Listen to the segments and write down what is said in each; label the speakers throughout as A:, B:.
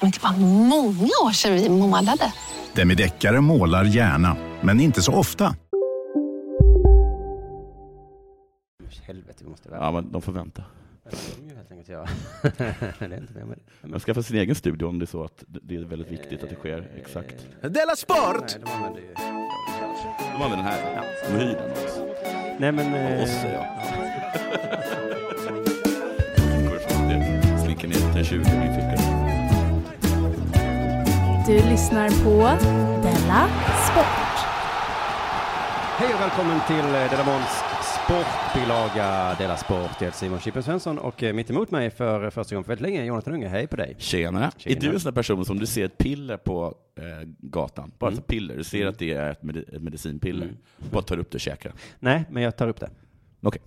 A: Men det var många år sedan vi målade.
B: Demideckare målar gärna, men inte så ofta.
C: Helvete, vi måste vara.
D: Ja, men de får vänta.
C: Det får de ju helt enkelt göra. det är inte mer med det.
D: Men skaffa sin egen studio om det är så att det är väldigt viktigt att det sker exakt.
E: Della Sport!
C: Nej, de använder ju...
D: De använder den här. De hyr den av oss.
C: Nej, men...
D: Av
C: eh,
D: oss, säger jag. Går ifrån det. Slinker ner till 20 i min ficka.
F: Du lyssnar på Della Sport.
C: Hej och välkommen till eh, Della Måns sportbilaga Della Sport. Jag heter Simon Chippen Svensson och eh, mitt emot mig för första gången för väldigt länge, Jonathan Unge. Hej på dig.
D: Tjena.
C: Tjena.
D: Är du en sån där person som du ser ett piller på eh, gatan, bara ett piller, du ser att det är ett, medi- ett medicinpiller, bara tar upp det och käkar.
C: Nej, men jag tar upp det.
D: Okej.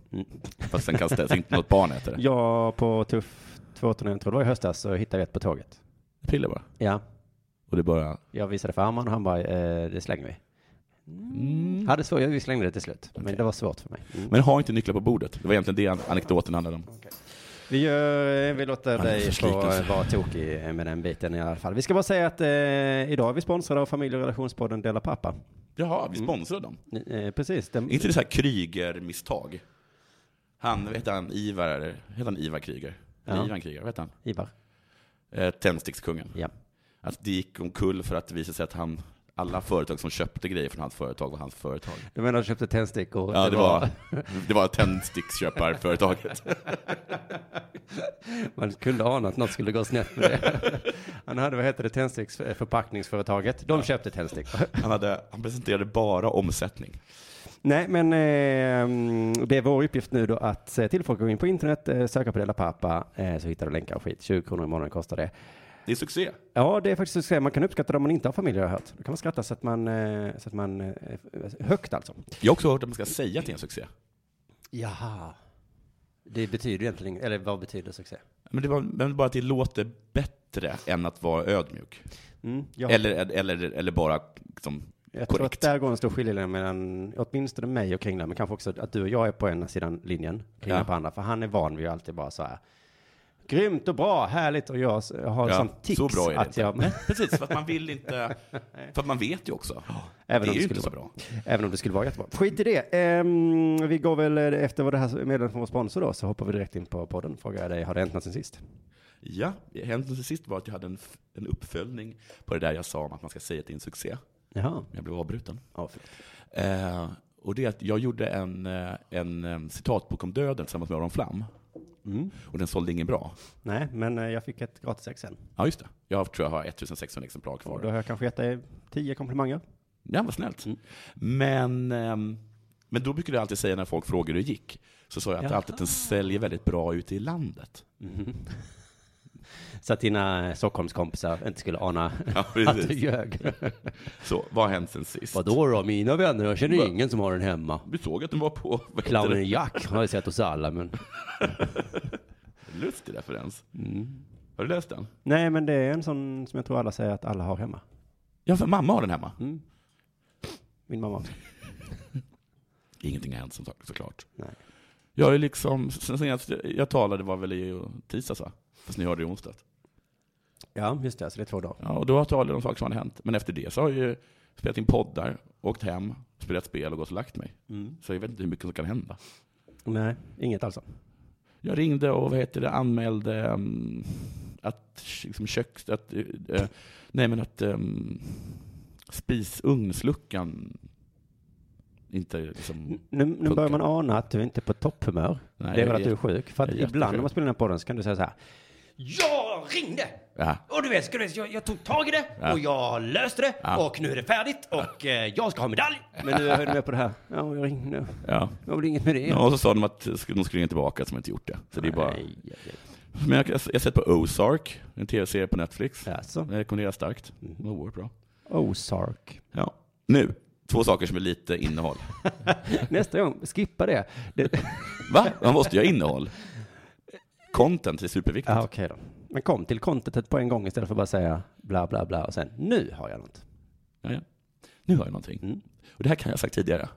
D: Fast sen kan ställas inte något barn äter det.
C: Jag på Tuff 2000, tror det var i höstas, så hittade jag ett på tåget.
D: Piller bara.
C: Ja,
D: Och det bara,
C: jag visade för Arman och han bara, eh, det slänger vi. Mm. Hade svårt, jag slängde det till slut. Men det var svårt för mig. Mm.
D: men ha inte nycklar på bordet. Det var egentligen det an- anekdoten handlade om.
C: Vi, gör, eh, vi låter
D: Man är
C: dig få
D: försliten, så.
C: vara tokig med den biten i alla fall. Vi ska bara säga att eh, idag är vi sponsrade av familje och relationspodden Dela Pappa.
D: Jaha, Mm. vi sponsrar dem.
C: Eh, precis. Den,
D: Är inte det så här Kryger-misstag? Han, vet han, Ivar, eller- heter han Ivar Kryger?
C: Ja.
D: Ja. Ivan Kryger, vet han?
C: Ivar.
D: Eh, Tändstickskungen.
C: Ja.
D: Att det gick omkull för att det visade sig att han, alla företag som köpte grejer från hans företag var hans företag.
C: Du menar du köpte tändstickor?
D: Ja, det var, det var tändsticksköparföretaget.
C: Man kunde ana att något skulle gå snett med det. Han hade, vad heter det, tändsticksförpackningsföretaget. De köpte tändstickor.
D: Han, hade, han presenterade bara omsättning.
C: Nej, men eh, det är vår uppgift nu då att säga till folk att gå in på internet, eh, söka på Dela Pappa, eh, så hittar du länkar och skit. 20 kronor i månaden kostar det.
D: Det är succé.
C: Ja, det är faktiskt succé. Man kan uppskatta det om man inte har familj, har jag hört. Då kan man skratta så att man, eh, så att man eh, högt alltså.
D: Jag har också hört att man ska säga att det är en succé.
C: Jaha. Det betyder egentligen, eller vad betyder succé?
D: Men det var men bara att det låter bättre än att vara ödmjuk.
C: Mm, jag,
D: Eller, eller, eller bara liksom,
C: jag tror att
D: korrekt.
C: där går en stor skiljelinje mellan åtminstone mig och Kringla, men kanske också att du och jag är på ena sidan linjen, Kringla
D: Ja.
C: på andra, för han är van vid att alltid bara så här. Grymt och bra, härligt och jag s- har
D: Ja,
C: sån tics
D: så bra är det
C: att
D: inte.
C: jag,
D: Precis, för att man vill inte... För att man vet ju också. det är
C: Även om det
D: ju
C: skulle
D: inte så
C: vara-
D: bra.
C: även om det skulle vara jättebra. Skit i det. Ehm, vi går väl eh, efter vad det här meddelandet från vår sponsor då, så hoppar vi direkt in på podden. Frågar jag dig, har det hänt något sen sist?
D: Ja, det hände till sist var att jag hade en, f- en uppföljning på det där jag sa om att man ska säga att det är en succé.
C: Jaha.
D: Men jag blev avbruten.
C: Ja, förlåt.
D: Eh, och det är att jag gjorde en, eh, en eh, citatbok om döden tillsammans med Aron Flam.
C: Mm.
D: Och den sålde ingen bra.
C: Nej, men eh, jag fick ett gratis ex sen.
D: Ja, just det. Jag tror jag har 1600 exemplar
C: Och
D: kvar.
C: då har jag kanske gett dig tio komplimanger.
D: Ja, vad snällt. Men, ehm, men då brukar jag alltid säga när folk frågar hur det gick, så sa jag att
C: Jaha.
D: alltid att den säljer väldigt bra ute i landet.
C: Så att dina eh, Stockholmskompisar inte skulle ana
D: Ja,
C: att du
D: precis.
C: ljög.
D: Så, vad har hänt sen sist?
C: Vadå då, mina vänner? Jag känner
D: Va?
C: ingen som har den hemma.
D: Vi såg att den var på... vad heter det?
C: Clownen Jack har jag sett hos alla, men...
D: Lustig referens. Har du läst den?
C: Nej, men det är en sån som jag tror alla säger att alla har hemma.
D: Ja, för mamma har den hemma.
C: Min mamma.
D: Ingenting har hänt som sagt, såklart.
C: Nej.
D: Jag är liksom, sen senast jag talade var väl i tisdags va? Fast ni hörde i onsdag.
C: Ja, just det. Så det är två dagar.
D: Ja, och då talade jag om saker som hade hänt. Men efter det så har jag ju spelat in poddar, åkt hem, spelat spel och gått och lagt mig.
C: Mm.
D: Så jag vet inte hur mycket som kan hända.
C: Nej, inget alltså.
D: Jag ringde och vad heter det, anmälde ehm, att k- liksom köks... Att, eh, eh, ehm, nej, men att um, spisugnsluckan inte liksom...
C: Nu, nu
D: Funkar.
C: börjar man ana att du inte är på topphumör.
D: Nej,
C: det är
D: jag är
C: väl att du är
D: jätte-
C: sjuk. För att
D: jag är
C: ibland när man
D: jättesjuk.
C: spelar den här podden så kan du säga så här.
E: Jag ringde!
D: Ja.
E: Och du vet, ska du, jag, jag tog tag i det
D: Ja.
E: och jag löste det
D: Ja.
E: och nu är det färdigt och eh, jag ska ha medalj.
C: Men nu är du med på det här. Ja, jag ringde.
D: Ja.
C: Det var väl inget med det.
D: Ja, och så sa de att de skulle ringa tillbaka som inte gjort det. Så det är bara...
C: Nej, nej,
D: Men jag, jag har sett på Ozark, en tv-serie på Netflix.
C: nej. Alltså,
D: Jag rekommenderar starkt. Det var oerhört bra.
C: Ozark.
D: Ja. Nu, två saker som är lite innehåll.
C: Nästa gång, skippa det. det...
D: Va? Man måste ju ha innehåll. Content är superviktigt.
C: Ja, okej då. Men kom till contentet på en gång istället för att bara säga bla bla bla och sen nu har jag något.
D: Ja, ja. Nu har jag någonting.
C: Mm.
D: Och det här kan jag ha sagt tidigare.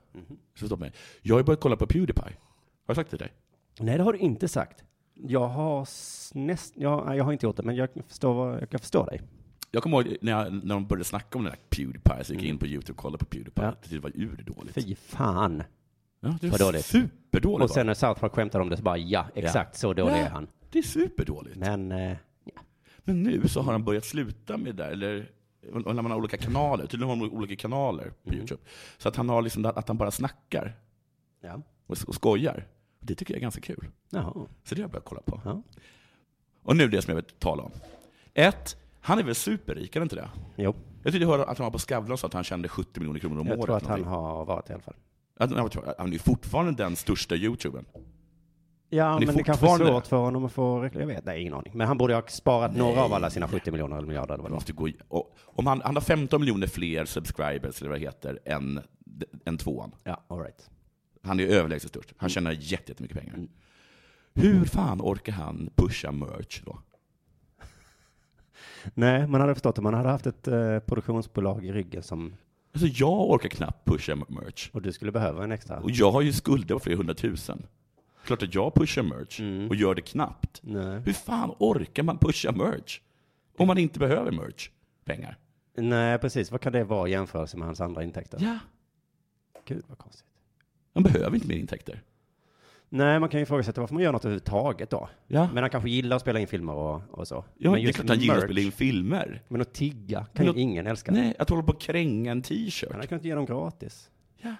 D: Så stopp mig. Jag har ju börjat kolla på Pewdiepie. Har jag sagt det till dig?
C: Nej, det har du inte sagt. Jag har s- näst, jag, nej, jag har inte gjort det, men jag förstår, vad, jag kan förstå dig.
D: Jag kommer ihåg när, jag, när de började snacka om den där Pewdiepie, så gick jag in på YouTube och kollade på Pewdiepie.
C: Ja.
D: Det var urdåligt.
C: Fy fan.
D: Ja, det
C: Vad dåligt.
D: Superdåligt.
C: Och sen när South Park skämtar om det så bara ja, exakt så dålig
D: Ja.
C: är han.
D: Det är superdåligt.
C: Men eh,
D: Men nu så har han börjat sluta med det där, eller och när man har olika kanaler, tydligen har de olika kanaler på Youtube. Så att han har liksom, att han bara snackar
C: ja,
D: och, och skojar. Det tycker jag är ganska kul.
C: jaha.
D: Så det har jag börjat kolla på.
C: Ja.
D: Och nu det som jag vill tala om. Ett, han är väl superrik, är det inte det?
C: Jo,
D: Jag tyckte jag hörde att han var på Skavlan så att han tjänade 70 miljoner kronor om
C: jag
D: året.
C: tror att han
D: någonting.
C: har varit i alla fall.
D: Att han, var- han är ju fortfarande den största youtubern.
C: Ja,
D: är
C: men det kanske är
D: fortfarande-
C: svårt för honom att få reklam. Jag vet, nej, ingen aning. Men han borde ha sparat några av alla sina 70 miljoner eller miljarder eller
D: Man
C: vad det var.
D: måste gå i, och, om han, han har 15 miljoner fler subscribers, eller vad det heter, än, än tvåan.
C: Ja, all right.
D: Han är överlägset störst.
C: Mm.
D: Han tjänar jätte- jättemycket pengar. Hur fan orkar han pusha merch då?
C: Nej, man hade förstått om man hade haft ett eh, produktionsbolag i ryggen som,
D: Alltså jag orkar knappt pusha merch.
C: och du skulle behöva en extra.
D: Och jag har ju skulder på flera hundratusen. Klart att jag pushar merch
C: Mm.
D: och gör det knappt.
C: Nej.
D: Hur fan orkar man pusha merch? Om man inte behöver merch. Pengar.
C: Nej, precis. Vad kan det vara i jämförelse med hans andra intäkter?
D: Ja.
C: Gud, vad konstigt.
D: Man behöver inte mer intäkter.
C: Nej, man kan ju ifrågasätta varför man gör något överhuvudtaget då.
D: Ja.
C: Men han kanske gillar att spela in filmer och, och så.
D: Ja,
C: men
D: det är klart han gillar att
C: merch-
D: spela in filmer.
C: Men att tigga kan
D: Men
C: ju
D: att-
C: ingen älska.
D: Nej, att hålla på och kränga en
C: Han hade
D: t-shirt.
C: kunnat ge dem gratis.
D: Ja.
C: Jag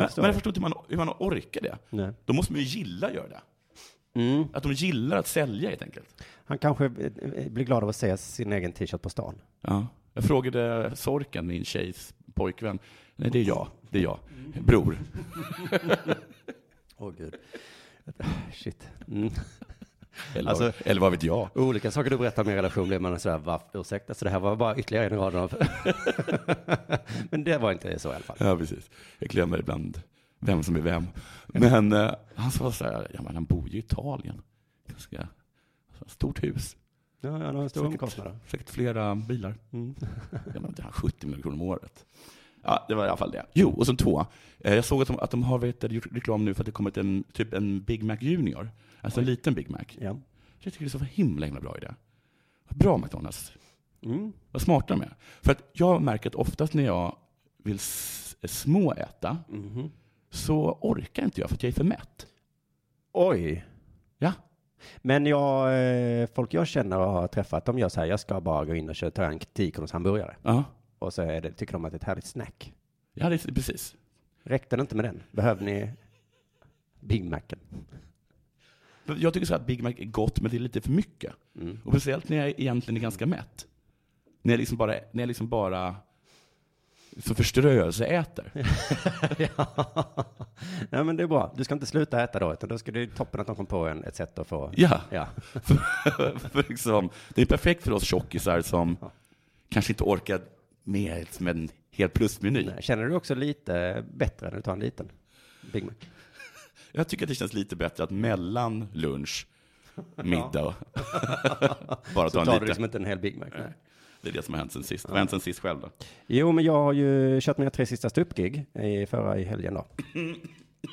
D: Men,
C: förstår
D: men jag
C: det.
D: förstår inte hur man, hur man orkar det.
C: Nej.
D: Då måste man ju gilla att göra det.
C: Mm.
D: Att de gillar att sälja helt enkelt.
C: Han kanske eh, blir glad av att se sin egen t-shirt på stan.
D: Ja. Jag frågade Sorken, min tjejs pojkvän. Nej, det är jag. Det är jag. Bror.
C: Åh gud. Shit. Mm.
D: Eller,
C: Alltså-
D: eller vad vet jag?
C: Olika saker du berättar om min relation blir man sådär, va, ursäkta, så det här var bara ytterligare en i raden av... Men det var inte så i alla fall.
D: Ja, precis. Jag glömmer ibland vem som är vem. Men eh, han sa så här, ja, men han bor ju i Italien. Ganska stort hus.
C: Ja, han har en stor Mm.
D: Säkert-
C: omkostnad. då.
D: Säkert flera bilar. Ja, men det har 70 miljoner kronor om året. Ja, det var i alla fall det. Jo, och sen två. Eh, Jag såg att de, att de har vet, du, gjort reklam nu för att det kommit en, typ en Big Mac Junior. Alltså en liten Big Mac.
C: Ja.
D: Jag tycker det är så himla, himla bra idé. Vad bra McDonalds.
C: Mm.
D: Vad smarta de är. För att jag märker att oftast när jag vill s- småäta
C: Mhm.
D: så orkar inte jag för att jag är för mätt.
C: Oj.
D: Ja.
C: Men jag, eh, folk jag känner och har träffat, de gör så här, jag ska bara gå in och köra, ta en 10 kronors hamburgare.
D: Ja,
C: Och så är det, tycker de att det är ett härligt snack.
D: ja det är precis.
C: Räckte det inte med den? Behövde ni Big Macen?
D: Men Jag tycker så här att Big Mac är gott, men det är lite för mycket.
C: Mm.
D: Och speciellt när jag egentligen är ganska mätt. När jag liksom bara, när jag liksom bara som förströelseäter.
C: ja. Nej, men det är bra. Du ska inte sluta äta då, utan då ska du toppen att de kom på en, ett sätt att få...
D: Ja.
C: Ja.
D: För, för liksom, det är perfekt för oss tjockisar som kanske inte orkar med ett- med en hel plusmeny.
C: Nej, Känner du också lite bättre när du tar en liten Big Mac?
D: Jag tycker att det känns lite bättre att mellan lunch, middag, bara
C: Så
D: ta en
C: tar
D: liten.
C: du liksom inte en hel Big Mac. Nej.
D: Det är det som har hänt sen sist. Vad har hänt sen sist själv då?
C: Jo, men jag har ju kört mina tre sista ståuppgig i förra i helgen då.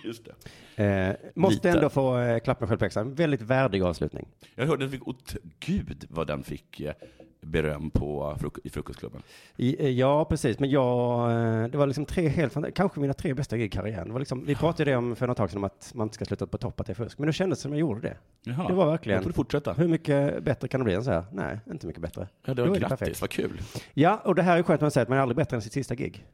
D: Just det.
C: Eh, måste
D: Lite.
C: ändå få eh, klappa mig själv på axeln. Väldigt värdig avslutning.
D: Jag hörde att den fick, ot- gud vad den fick eh, beröm på fruk- i frukostklubben.
C: I, eh, ja, precis. Men jag, eh, det var liksom tre helt, fanta- kanske mina tre bästa gig i karriären. Det var liksom, vi pratade ju om för något tag sedan om att man inte ska sluta på topp, att det är fusk. Men det kändes som jag gjorde det.
D: Jaha.
C: Det var verkligen-
D: Då får du fortsätta.
C: Hur mycket bättre kan det bli än så här? Nej, inte mycket bättre.
D: Ja, det
C: Då
D: var
C: är det
D: grattis,
C: perfekt.
D: vad kul.
C: Ja, och det här är skönt att man säger att man är aldrig bättre än sitt sista gig.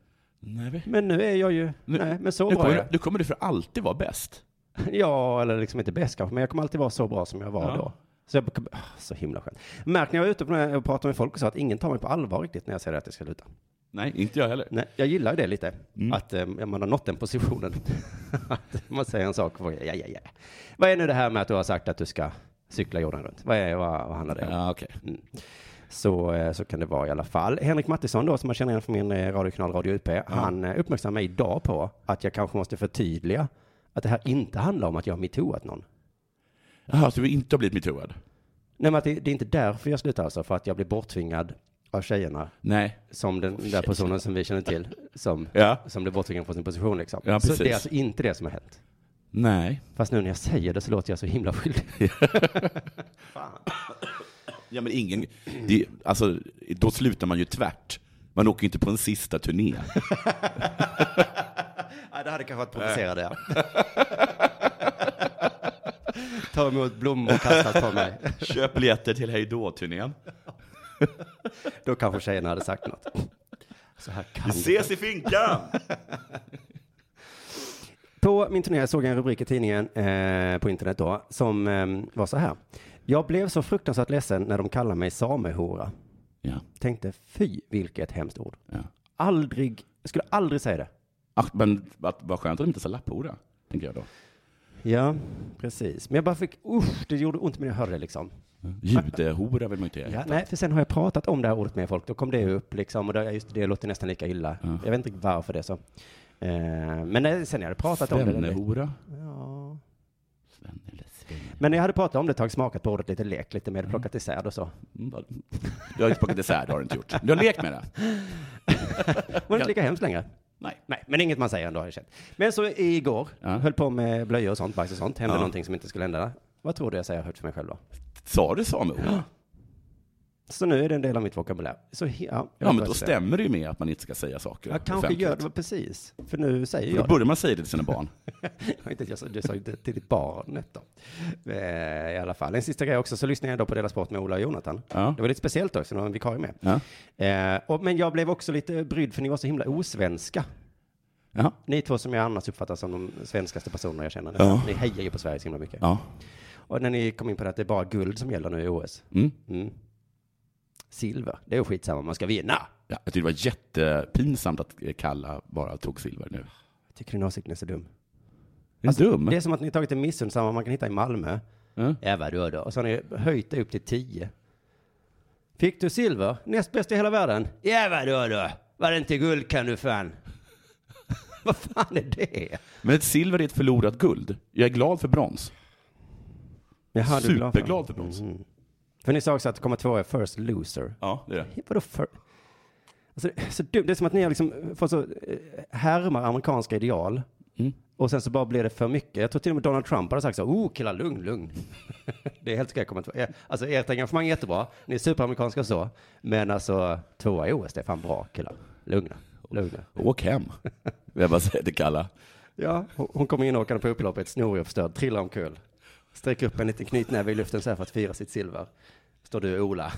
D: Nej, vi-
C: Men nu är jag ju...
D: Nu-
C: nej, men så
D: nu
C: bra är
D: kommer,
C: jag.
D: du, nu kommer du för alltid vara bäst.
C: Ja, eller liksom inte bäst kanske, men jag kommer alltid vara så bra som jag var
D: Ja.
C: då. Så, jag, kom- ah, så himla skönt. Märk när jag var ute på den här och pratade med folk och sa att ingen tar mig på allvar riktigt när jag säger att jag ska sluta.
D: Nej, inte jag heller.
C: Nej, jag gillar ju det lite,
D: Mm.
C: att eh, man har nått den positionen. att man säger en sak och ja, ja, ja. Vad är nu det här med att du har sagt att du ska cykla jorden runt? Vad, är, vad, vad handlar det om?
D: Ja, okej.
C: Mm. Så, eh, så kan det vara i alla fall. Henrik Mattisson då, som man känner igen från min eh, radiokanal Radio UP, han eh, uppmärksammade mig idag på att jag kanske måste förtydliga att det här inte handlar om att jag har metooat någon.
D: Jaha, så du inte har blivit metooad?
C: Nej, men att det, det är inte därför jag slutar alltså, för att jag blir borttvingad av tjejerna,
D: Nej.
C: som
D: Oh,
C: den där personen som vi känner till, som,
D: Ja.
C: som blir borttvingad från sin position liksom.
D: Ja,
C: så
D: precis.
C: det är alltså inte det som har hänt.
D: Nej.
C: Fast nu när jag säger det så låter jag så himla skyldig.
D: Ja, men ingen... Det, alltså, då slutar man ju tvärt. Man åker ju inte på en sista turné.
C: Ja, det hade kanske varit provocerande, ja. Ta emot blommor kastat på mig.
D: Köp biljetter till Hej då-turnén.
C: Då kanske tjejerna hade sagt något. Så här kan det.
D: Ses i finkan!
C: På min turné såg jag en rubrik i tidningen eh, på internet då som eh, var så här. Jag blev så fruktansvärt ledsen när de kallade mig samehora.
D: Ja.
C: Tänkte fy vilket hemskt ord.
D: ja.
C: Aldrig, jag skulle aldrig säga det.
D: Ach, men vad- vad skönt att de inte sa lapphora, tänker jag då.
C: Ja, precis. Men jag bara fick, usch, det gjorde ont men jag hörde det liksom.
D: Judehora vill man inte
C: Ja,
D: heta.
C: nej, för sen har jag pratat om det här ordet med folk, då kom det upp liksom och det, just det låter nästan lika illa. Jag vet inte varför det är så. Eh, men eh, sen jag hade pratat om det.
D: Svennehora.
C: Ja.
D: Svenne eller Svenne.
C: Men när jag hade pratat om det ett tag, smakat på ordet lite, lekt lite med det, plockat isär det och så.
D: Mm, vad- Du har inte plockat isär, det har du inte gjort. Du har lekt med det.
C: Var det inte lika hemskt längre?
D: Nej.
C: Nej, men inget man säger ändå har jag känt. Men så igår,
D: Ja.
C: höll på med blöjor och sånt, bajs och sånt, hände
D: Ja.
C: någonting som inte skulle hända. Vad tror du jag säger högt för mig själv då?
D: Sa du samehora?
C: Så nu är det en del av mitt vokabulär. Så, he- ja, jag vet
D: Ja,
C: vad
D: men
C: jag
D: då
C: ska säga.
D: stämmer det ju med att man inte ska säga saker
C: Jag kanske
D: offentligt.
C: gör det, precis. För nu säger
D: Då
C: jag det.
D: börjar man säga det till sina barn.
C: Ja, inte, jag sa, du sa ju det till ditt barnet då. Eh, I alla fall. En sista grej också, så lyssnade jag då på Dela Sport med Ola och Jonathan.
D: Ja.
C: Det var lite speciellt då, eftersom det var en vikarie med.
D: Ja.
C: Eh, och, men jag blev också lite brydd, för ni var så himla osvenska.
D: Ja.
C: Ni två som jag annars uppfattar som de svenskaste personerna jag känner.
D: Ja.
C: Ni hejar ju på Sverige så himla mycket.
D: ja.
C: Och när ni kom in på det att det är bara guld som gäller nu i OS.
D: Mm.
C: Mm. Silver, det är ju skitsamma, man ska vinna.
D: Ja, jag tyckte det var jättepinsamt att Kalla bara tog silver nu.
C: Jag tycker din åsikt är så dum.
D: Är
C: Alltså,
D: dum?
C: Det är som att ni tagit en missunnsamma man kan hitta i Malmö.
D: Ja.
C: Ja, vad du då? Och så har ni höjt det upp till 10. Fick du silver? Näst bäst i hela världen? Ja, vad du då? Var det inte guld kan du fan. vad fan är det?
D: Men ett silver är ett förlorat guld. Jag är glad för brons.
C: Jaha, du är glad för-
D: Superglad för brons.
C: Mm. För ni sa också att komma tvåa är first loser.
D: Ja, det är det.
C: Vadå för? Alltså, det, är så dumt. det är som att ni har liksom fått så eh, härmar amerikanska ideal.
D: Mm.
C: Och sen så bara blir det för mycket. Jag tror till och med Donald Trump hade sagt så här, oh killar lugn, lugn. det är helt okej, kommer inte- eh, Alltså ert engagemang är jättebra, ni är superamerikanska och så. Men alltså tvåa i OS, det är fan bra killar. Lugna, lugna.
D: Åk hem, vill jag bara säga till Kalla.
C: Ja, hon hon kommer in åkande på upploppet, snorig och förstörd, trillar omkull. Sträcker upp en liten knytnäve i luften så här för att fira sitt silver. Står du och Ola.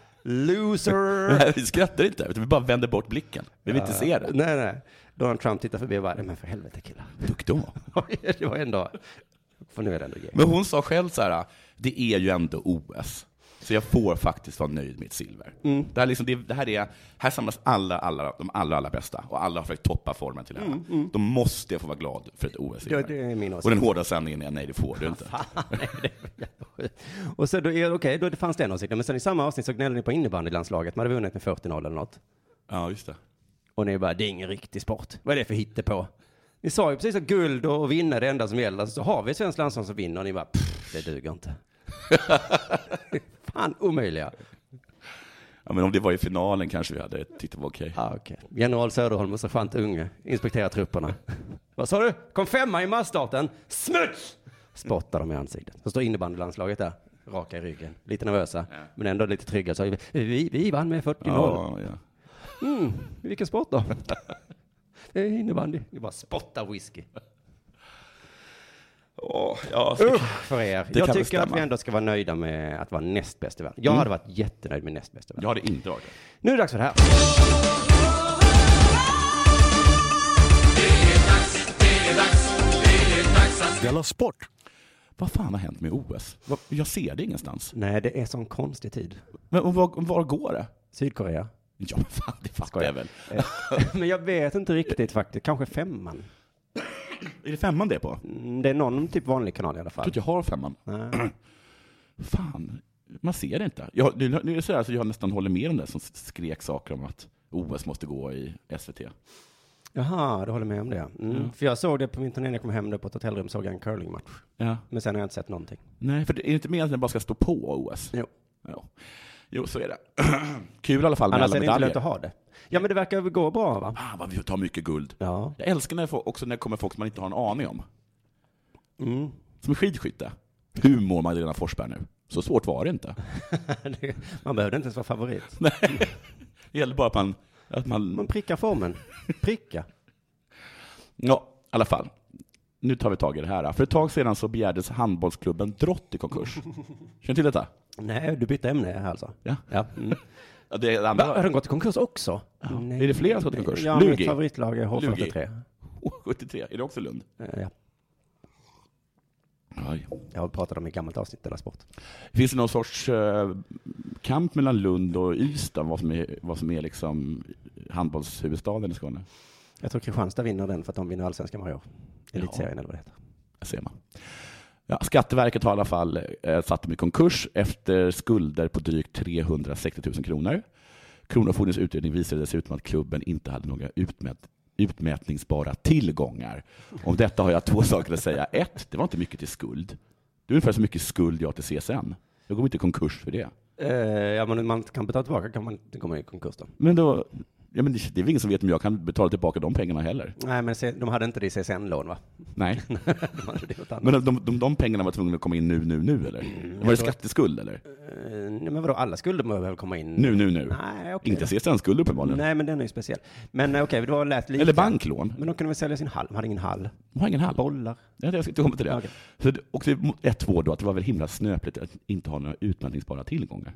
C: Loser!
D: Nej, vi skrattar inte, utan vi bara vänder bort blicken. Vi vill inte se det.
C: Nej, nej. Donald Trump tittar förbi och bara, nej men för helvete killar.
D: Duktig hon var.
C: det var ändå, för nu är det ändå gay.
D: Men hon sa själv så här, det är ju ändå OS. Så jag får faktiskt vara nöjd med ett silver.
C: Mm.
D: Det, här liksom, det, det här är, här samlas alla, alla, de allra, allra bästa och alla har försökt toppa formen till det här. Då måste jag få vara glad för ett os
C: Mm, Ja, det är min åsikt.
D: Och den hårda sanningen är, nej det får du inte.
C: Nej, det var jävla sjukt. och så då, är- okej, då det fanns den åsikten. Men sen i samma avsnitt så gnällde ni på innebandylandslaget. Man hade vunnit med 40-0 eller något.
D: Ja, just det.
C: Och ni bara, det är ingen riktig sport. Vad är det för hittepå? Ni sa ju precis att guld och, och vinna är det enda som gäller. Alltså, Så har vi ett svenskt landslag som vinner och ni bara, "Pff, det duger inte. Fan omöjliga.
D: Ja, men om det var i finalen kanske vi hade tyckt det var okej.
C: Ah, okay. General Söderholm och sergeant Unge inspekterar trupperna. Vad sa du? Kom femma i massstarten. Smuts! Spottar de i ansiktet. Så står innebandylandslaget där, raka i ryggen. Lite nervösa, men ändå lite trygga. Så vi, vi, vi vann med 40-0.
D: Ja, ja.
C: Mm, vilken sport då? Det är innebandy. Vi bara spottar whisky.
D: Åh, ja, så-
C: Usch för er.
D: Det
C: Jag
D: kan väl
C: tycker att vi
D: stämma. Mm.
C: ändå ska vara nöjda med att vara näst bäst i världen. Jag hade varit jättenöjd med näst bäst i världen.
D: Jag hade inte varit det.
C: Nu är det dags för det här.
G: Della Sport!
D: Vad fan har hänt med OS? Vad- Jag ser det ingenstans.
C: Nej, det är sån konstig tid.
D: Men och var, var går det?
C: Sydkorea. Eh,
D: Ja, men fan, det fattar jag väl.
C: Men jag vet inte riktigt faktiskt. Kanske femman.
D: Är det femman det är på? Jag
C: Mm, Det är någon typ vanlig kanal i alla
D: tror
C: fall.
D: inte jag har femman.
C: Nej.
D: Fan, man ser det inte. Jag, nu, nu är det så här, så jag nästan håller med om det som skrek saker om att OS måste gå i SVT.
C: Jaha, du håller med om det. Mm. För jag såg det på min turné när jag kom hem där på ett hotellrum såg jag en curlingmatch.
D: Ja.
C: Men sen har jag inte sett någonting.
D: Nej, för det är ju inte meningen att den bara ska stå på OS.
C: Jo.
D: Ja. Jo, så är det. Kul i alla fall med
C: Annars
D: alla
C: är det inte
D: medaljer.
C: lönt att ha det. Ja, men det verkar gå bra va?
D: Fan vad vi tar mycket guld.
C: Ja.
D: Jag älskar när jag får, också när det kommer folk som man inte har en aning om.
C: Mm.
D: Som är skidskytte. Hur mår Magdalena Forsberg nu? Så svårt var det inte.
C: Man behövde inte ens vara favorit.
D: Det gäller bara att man... Att man
C: Man prickar formen. Pricka.
D: ja, i alla fall. Nu tar vi tag i det här. För ett tag sedan så begärdes handbollsklubben Drott i konkurs. Känner du till detta?
C: Nej, du bytte ämne här alltså.
D: Ja.
C: ja. Mm.
D: Ja, Det är det
C: Va,
D: andra.
C: Har de gått i konkurs också? Nej.
D: Är det fler som gått i konkurs?
C: Ja,
D: Lugi?
C: mitt favoritlag är H43.
D: Oh, 73, är det också Lund?
C: Eh, Ja.
D: Aj.
C: Jag har pratat om i gammalt avsnitt Della Sport.
D: Finns det någon sorts eh, kamp mellan Lund och Ystad, vad som är, vad som är liksom handbollshuvudstaden i Skåne?
C: Jag tror Kristianstad vinner den för att de vinner allsvenskan varje år. Elitserien eller vad det heter.
D: Där ser man. Ja, Skatteverket har i alla fall eh, satt dem i konkurs efter skulder på drygt 360 000 kronor. Kronofogdens utredning visade dessutom att klubben inte hade några utmät utmätningsbara tillgångar. Om detta har jag två saker att säga. Ett, det var inte mycket till skuld. Det är ungefär så mycket skuld jag har till CSN. Jag går inte i konkurs för det.
C: Eh, ja, men om man kan betala tillbaka kan man inte komma i konkurs då.
D: Men då, ja, men det, det är väl ingen som vet om jag kan betala tillbaka de pengarna heller.
C: Nej, men se, de hade inte det i CSN-lån va?
D: Nej.
C: De hade det något annat.
D: Men de, de, de pengarna var tvungna att komma in nu, nu, nu eller? Var det skatteskuld eller?
C: Eh, nej, men vadå, alla skulder behöver väl komma in?
D: Nu, nu, nu.
C: Nej, okej.
D: Inte CSN-skuld uppenbarligen.
C: Nej, men den är ju speciell. Men eh, okej, det var lät lite.
D: Eller banklån.
C: Men de kunde väl sälja sin hall? De hade ingen hall.
D: De har ingen hall.
C: Bollar.
D: Nej, Jag ska inte komma till det.
C: Okej.
D: Så det och det är ett två då, att det var väl himla snöpligt att inte ha några utmätningsbara tillgångar.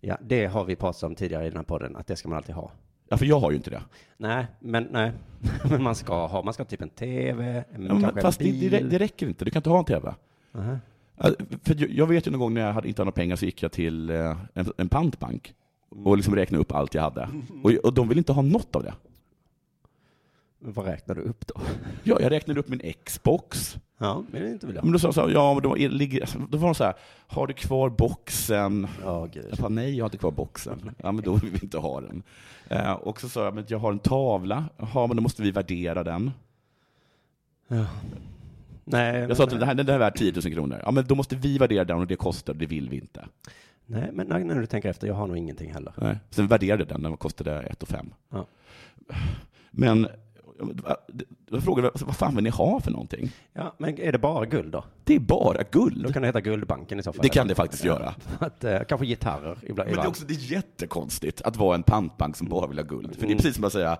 C: Ja, det har vi pratat om tidigare i den här podden, att det ska man alltid ha.
D: Ja, för jag har ju inte det.
C: Nej, men nej. men man ska ha, man ska ha typ en TV, en,
D: Ja, men
C: kanske
D: fast
C: en
D: det,
C: bil.
D: det, det räcker inte, du kan inte ha en TV. Ja, För jag- jag vet ju någon gång när jag hade, inte hade några pengar så gick jag till eh, en, en pantbank och liksom räknade upp allt jag hade. Och, och de ville inte ha något av det.
C: Vad räknar du upp då?
D: Ja, jag räknade upp min Xbox.
C: Ja, men det är inte väl
D: Men
C: jag.
D: då sa de så här, ja, men då, är- ligger, alltså, då var de så här, har du kvar boxen?
C: Ja,
D: Jag
C: gud.
D: sa nej, jag har inte kvar boxen. Ja, men då vill vi inte ha den. Eh, och så sa jag, men jag har en tavla. Jaha, men då måste vi värdera den.
C: Nej, men,
D: Jag sa att den här, den här är värd 10 000 kronor. Ja, men då måste vi värdera den och det kostar, det vill vi inte.
C: nej, men när, när du tänker efter, jag har nog ingenting heller.
D: Nej. Sen värderade den, den kostade 1 500.
C: Ja.
D: Men jag frågade, alltså, vad fan vill ni ha för någonting?
C: Ja, men är det bara guld då?
D: Det är bara
C: Då
D: guld.
C: kan det heta Guldbanken i så fall.
D: Det kan det faktiskt göra.
C: Att, eh, kanske gitarrer ibland.
D: Men det är också det är jättekonstigt att vara en pantbank som bara vill ha guld.
C: Mm.
D: För det är precis som att säga,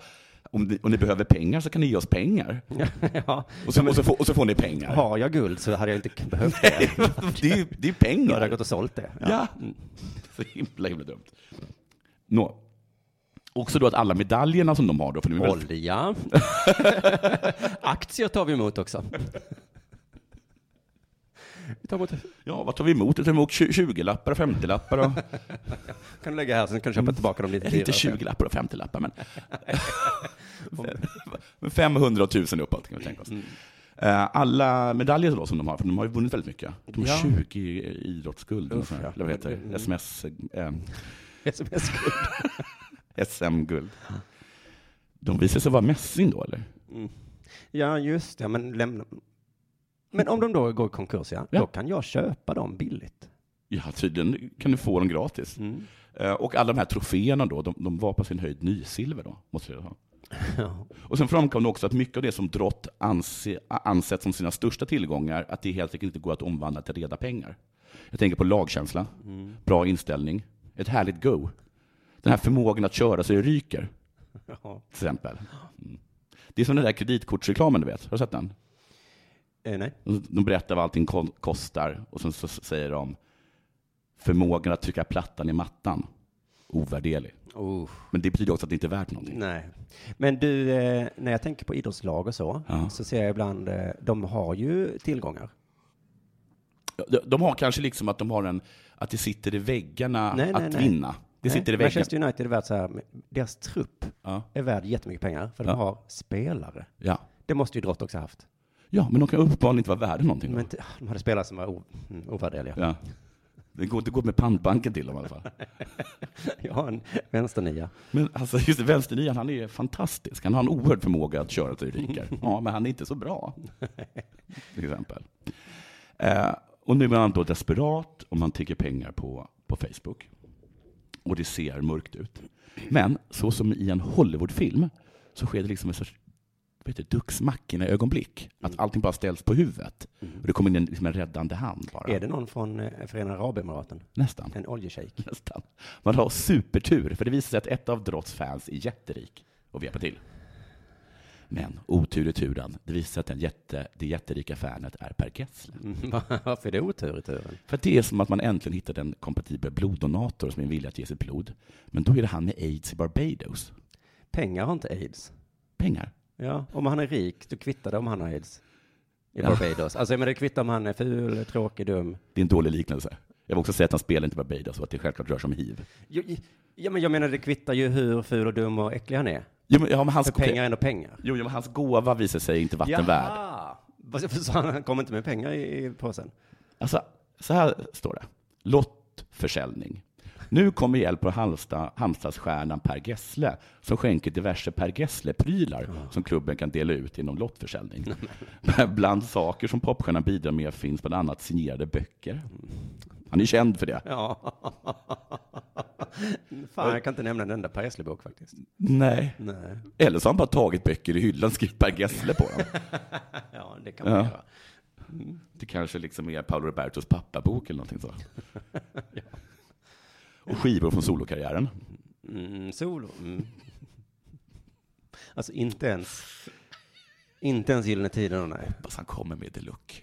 D: om ni, om ni behöver pengar så kan ni ge oss pengar.
C: ja.
D: Och så, och så, får, och så får ni pengar.
C: Har jag guld så hade jag inte behövt det.
D: det, är, det är
C: Då hade jag
D: pengar.
C: gått och sålt det. Ja.
D: Ja. Mm. Så himla, himla dumt. Nå. Också då att alla medaljerna som de har då, för de är väl,
C: Olja. Aktier tar vi emot också. Vi tar emot.
D: ja, vad tar vi emot? Vi tar emot 20-lappar och 50-lappar och,
C: Kan du lägga här sen kan du köpa
D: Mm.
C: tillbaka dem lite
D: eller inte
C: dyrare.
D: 20-lappar och 50-lappar, men, men 500 och 1000 uppåt kan vi tänka oss.
C: Mm.
D: Eh, Alla medaljer då som de har, för de har ju vunnit väldigt mycket. De har
C: Ja.
D: 20 idrottsguld, eller sånt här,
C: ja. Mm.
D: eller vad heter det? SMS, eh,
C: SMS-guld.
D: SM-guld. De visar sig vara mässing då, eller?
C: Ja, just det. Men lämna. Men om de då går i konkurs, ja,
D: Ja.
C: då kan jag köpa dem billigt.
D: Ja, tydligen kan du få dem gratis.
C: Mm.
D: Eh, Och alla de här troféerna då, de, de var på sin höjd nysilver då, måste jag ha.
C: Ja.
D: Och sen framkom det också att mycket av det som Drott anse, ansett som sina största tillgångar, att det helt enkelt inte går att omvandla till reda pengar. Jag tänker på lagkänsla, bra inställning, ett härligt go. Den här förmågan att köra så det ryker,
C: Ja.
D: till exempel. Mm. Det är som den där kreditkortsreklamen, du vet. Har du sett den?
C: Eh, nej.
D: De berättar vad allting kon- kostar och sen så s- säger de förmågan att trycka plattan i mattan, ovärderlig.
C: Oh,
D: Men det betyder också att det inte är värt någonting.
C: nej. Men du, eh, när jag tänker på idrottslag och så,
D: Ja.
C: så ser jag ibland, eh, de har ju tillgångar.
D: De, de har kanske liksom att de har en, att det sitter i väggarna
C: Nej, nej,
D: att
C: nej.
D: vinna. Det
C: Nej,
D: sitter i väggarna.
C: Manchester United är värt så här, deras trupp
D: Ja.
C: är värd jättemycket pengar, för
D: Ja.
C: de har spelare.
D: Ja.
C: Det måste ju idrott också ha haft.
D: ja, men de kan uppenbarligen inte vara värda någonting.
C: Men inte- de hade spelare som var o- mm, ovärderliga.
D: Ja. Det går inte gå med pantbanken till dem i alla fall.
C: Jag har en vänsternia.
D: Men alltså, just vänsternian, han är fantastisk. Han har en oerhörd förmåga att köra till rikar. Ja, men han är inte så bra. Till exempel. Eh, och nu är han då desperat om man tigger pengar på, på Facebook. Och det ser mörkt ut. Men så som i en Hollywoodfilm så sker det liksom en sorts vad heter det, Duxmackorna-ögonblick.
C: Mm.
D: Att allting bara ställs på huvudet. Och det kommer in en, liksom en räddande hand bara.
C: Är det någon från eh, Förenade Arabemiraten?
D: Nästan.
C: En oljeshejk?
D: Nästan. Man har supertur, för det visar sig att ett av Drotts fans är jätterik och vill hjälpa till. Men otur i turen, det visar sig att den jätte, det jätterika fanet är Per Gessle.
C: Varför är det otur i turen?
D: För att det är som att man äntligen hittat en kompatibel bloddonator som är villig att ge sitt blod. Men då är det han med aids i Barbados.
C: Pengar har inte aids.
D: Pengar.
C: Ja, om han är rik, då kvittar det om han har aids. I
D: Ja.
C: Barbados. Alltså, men det kvittar om han är ful, tråkig, dum.
D: Det är en dålig liknelse. Jag vill också säga att han spelar inte i Barbados och att det självklart rör sig om hiv.
C: Jo, Ja, men jag menar, det kvittar ju hur ful och dum och äcklig han är.
D: Jo, men, ja, men hans,
C: För pengar är ändå pengar.
D: jo, jo, men hans gåva visar sig inte vatten värd.
C: Jaha! Vad- Så han kommer inte med pengar i i påsen?
D: Alltså, så här står det. Lottförsäljning. Nu kommer hjälp på Halmstad, Halmstadsstjärnan Per Gessle som skänker diverse Per Gessle-prylar som klubben kan dela ut genom lottförsäljning. Bland saker som popstjärnan bidrar med finns bland annat signerade böcker. Han är känd för det.
C: Ja. Fan, jag kan inte nämna en enda Per Gessle-bok faktiskt.
D: Nej.
C: Nej.
D: Eller så har han bara tagit böcker i hyllan och skrivit Per Gessle på dem.
C: Ja, det kan man
D: Ja.
C: göra.
D: Det kanske liksom är Paolo Robertos pappabok eller någonting så. Och skivor från solokarriären.
C: Mm, solo. Mm. Alltså inte ens, inte ens Gyllene Tider, nej.
D: hoppas han kommer med deluxe.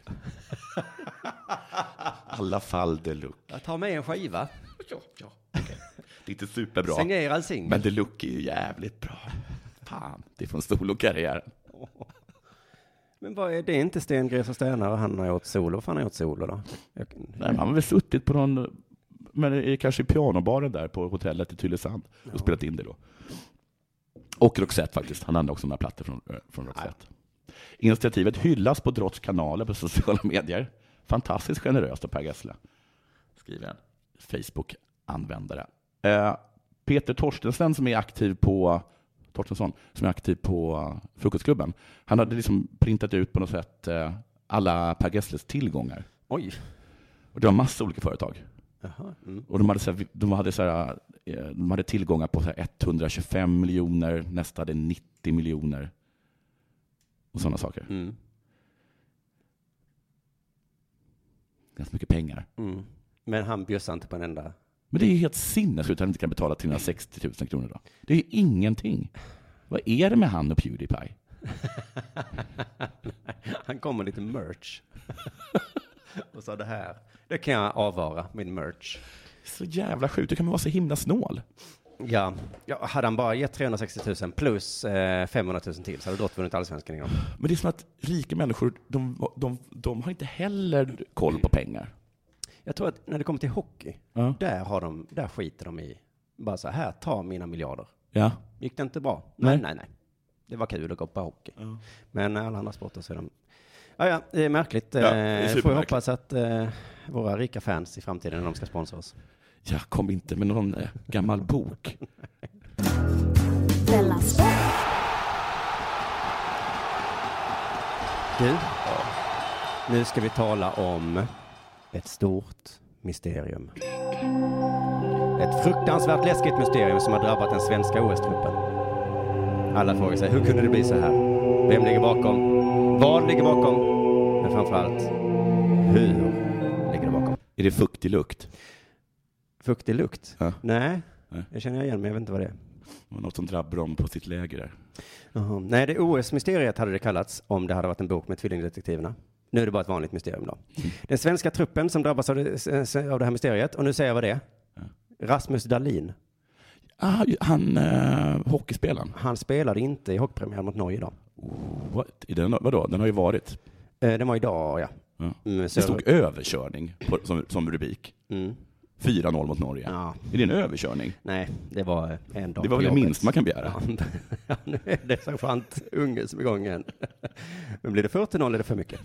D: alla fall deluxe.
C: Jag tar med en skiva,
D: Det är inte superbra,
C: signerad singel.
D: men deluxe är ju jävligt bra. Fan, det är från solokarriären.
C: Men vad är det? inte Stengres och Stenar och han har gjort solo? Vad fan har gjort solo då? Jag,
D: Nej, men han har väl suttit på någon, men det är kanske i pianobaren där på hotellet i Tylösand och spelat in det då. Och Roxette faktiskt, han hade också några plattor från, eh, från Roxette. Initiativet hyllas på Drotts kanaler på sociala medier. Fantastiskt generöst av Per Gessle, skriver en Facebook-användare. Eh, Peter Torstensen som är aktiv på Torstensson, som är aktiv på eh, Frukostklubben, han hade liksom printat ut på något sätt eh, alla Per Gessles tillgångar.
C: oj.
D: Och det var massa olika företag.
C: Jaha. Mm.
D: Och de hade, så här, de hade, så här, eh, de hade tillgångar på så här 125 miljoner, nästa hade 90 miljoner och sådana saker.
C: Mm.
D: Ganska mycket pengar.
C: Mm. Men han bjussar inte på en enda.
D: Men det är ju helt sinnessjukt att han inte kan betala 360 000 kronor då. Det är ju ingenting. Vad är det med han och Pewdiepie?
C: Han kommer lite merch. och sa det här. Det kan jag avvara, min merch.
D: Så jävla sjukt, hur kan man vara så himla snål?
C: Ja, ja hade han bara gett 360 000 plus eh, 500 000 till så hade Drott vunnit allsvenskan igång.
D: Men det är som att rika människor, de, de, de har inte heller koll på pengar.
C: Jag tror att när det kommer till hockey,
D: Ja.
C: där, har de, där skiter de i. Bara så här, ta mina miljarder.
D: Ja.
C: Gick det inte bra? Nej,
D: Nej.
C: nej, nej. Det var kul att gå på hockey. Men alla andra sporter så är de... Ja, ja, det är märkligt.
D: Ja, det är
C: eh, får vi
D: supermärkligt.
C: hoppas att eh, våra rika fans i framtiden när de ska sponsra oss.
D: ja, kom inte med någon eh, gammal bok.
F: Della Sport.
C: Du, nu ska vi tala om ett stort mysterium. Ett fruktansvärt läskigt mysterium som har drabbat den svenska OS-truppen. Alla frågar sig, hur kunde det bli så här? Vem ligger bakom? Vad ligger bakom? Men framförallt, hur ligger det bakom?
D: Är det fuktig lukt?
C: Fuktig lukt?
D: Ja.
C: Nej,
D: Nej.
C: det känner jag igen, men jag vet inte vad det är.
D: Det var något som drabbade dem på sitt läger där.
C: Jaha. Nej, det OS-mysteriet hade det kallats om det hade varit en bok med tvillingdetektiverna. Nu är det bara ett vanligt mysterium då.
D: Mm.
C: Den svenska truppen som drabbas av det, av det här mysteriet, och nu säger jag vad det är. Rasmus Dahlin.
D: Ah, ju- han, eh, hockeyspelaren.
C: Han spelade inte i hockeypremiären mot Norge idag.
D: What? I den, vadå? Den har ju varit.
C: Eh, Den var idag, ja.
D: Ja.
C: Mm, så
D: Det stod överkörning på, som, som rubrik.
C: Mm.
D: 4-0 mot Norge.
C: Ja,
D: Är det en överkörning?
C: nej, det var eh, en dag
D: Det var
C: på
D: väl det
C: jobbet.
D: minsta man kan begära?
C: Ja, ja, nu är det sergeant Unge som är igång igen. Men blir det 40-0 är det för mycket.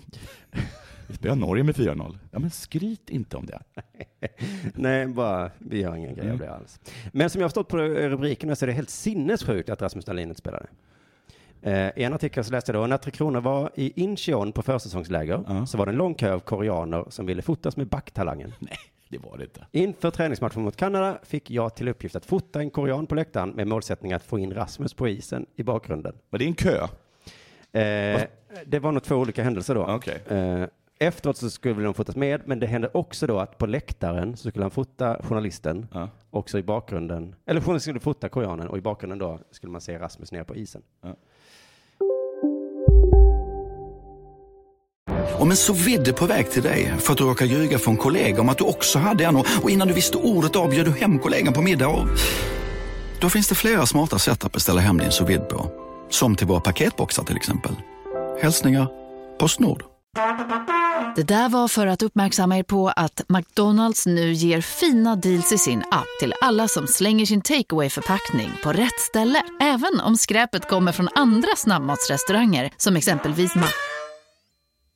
D: Vi spelar Norge med 4-0. Ja, men skryt inte om det.
C: Nej, bara, vi har ingen grej av det alls. Men som jag har förstått på rubrikerna så är det helt sinnessjukt att Rasmus Dahlin inte spelade. Eh, I en artikel så läste jag då, när Tre Kronor var i Incheon på försäsongsläger
D: Ja.
C: så var det en lång kö av koreaner som ville fotas med backtalangen.
D: Nej, det var det inte.
C: Inför träningsmatchen mot Kanada fick jag till uppgift att fota en korean på läktaren med målsättning att få in Rasmus på isen i bakgrunden.
D: Var det en kö?
C: Eh, det var nog två olika händelser då.
D: Okej.
C: Eh, efteråt så skulle de fotas med, men det hände också då att på läktaren så skulle han fota journalisten,
D: Ja.
C: också i bakgrunden, eller journalisten skulle fota koreanen och i bakgrunden då skulle man se Rasmus ner på isen.
G: Om en så vidde på väg till dig för att du råkar ljuga från kollega om att du också hade en och och innan du visste ordet av bjöd du hem kollegan på middag och... Då finns det flera smarta sätt att beställa hem din sous vide på. Som till våra paketboxar till exempel. Hälsningar Postnord.
F: Det där var för att uppmärksamma er på att McDonalds nu ger fina deals i sin app till alla som slänger sin takeaway förpackning på rätt ställe. Även om skräpet kommer från andra snabbmatsrestauranger som exempelvis Ma...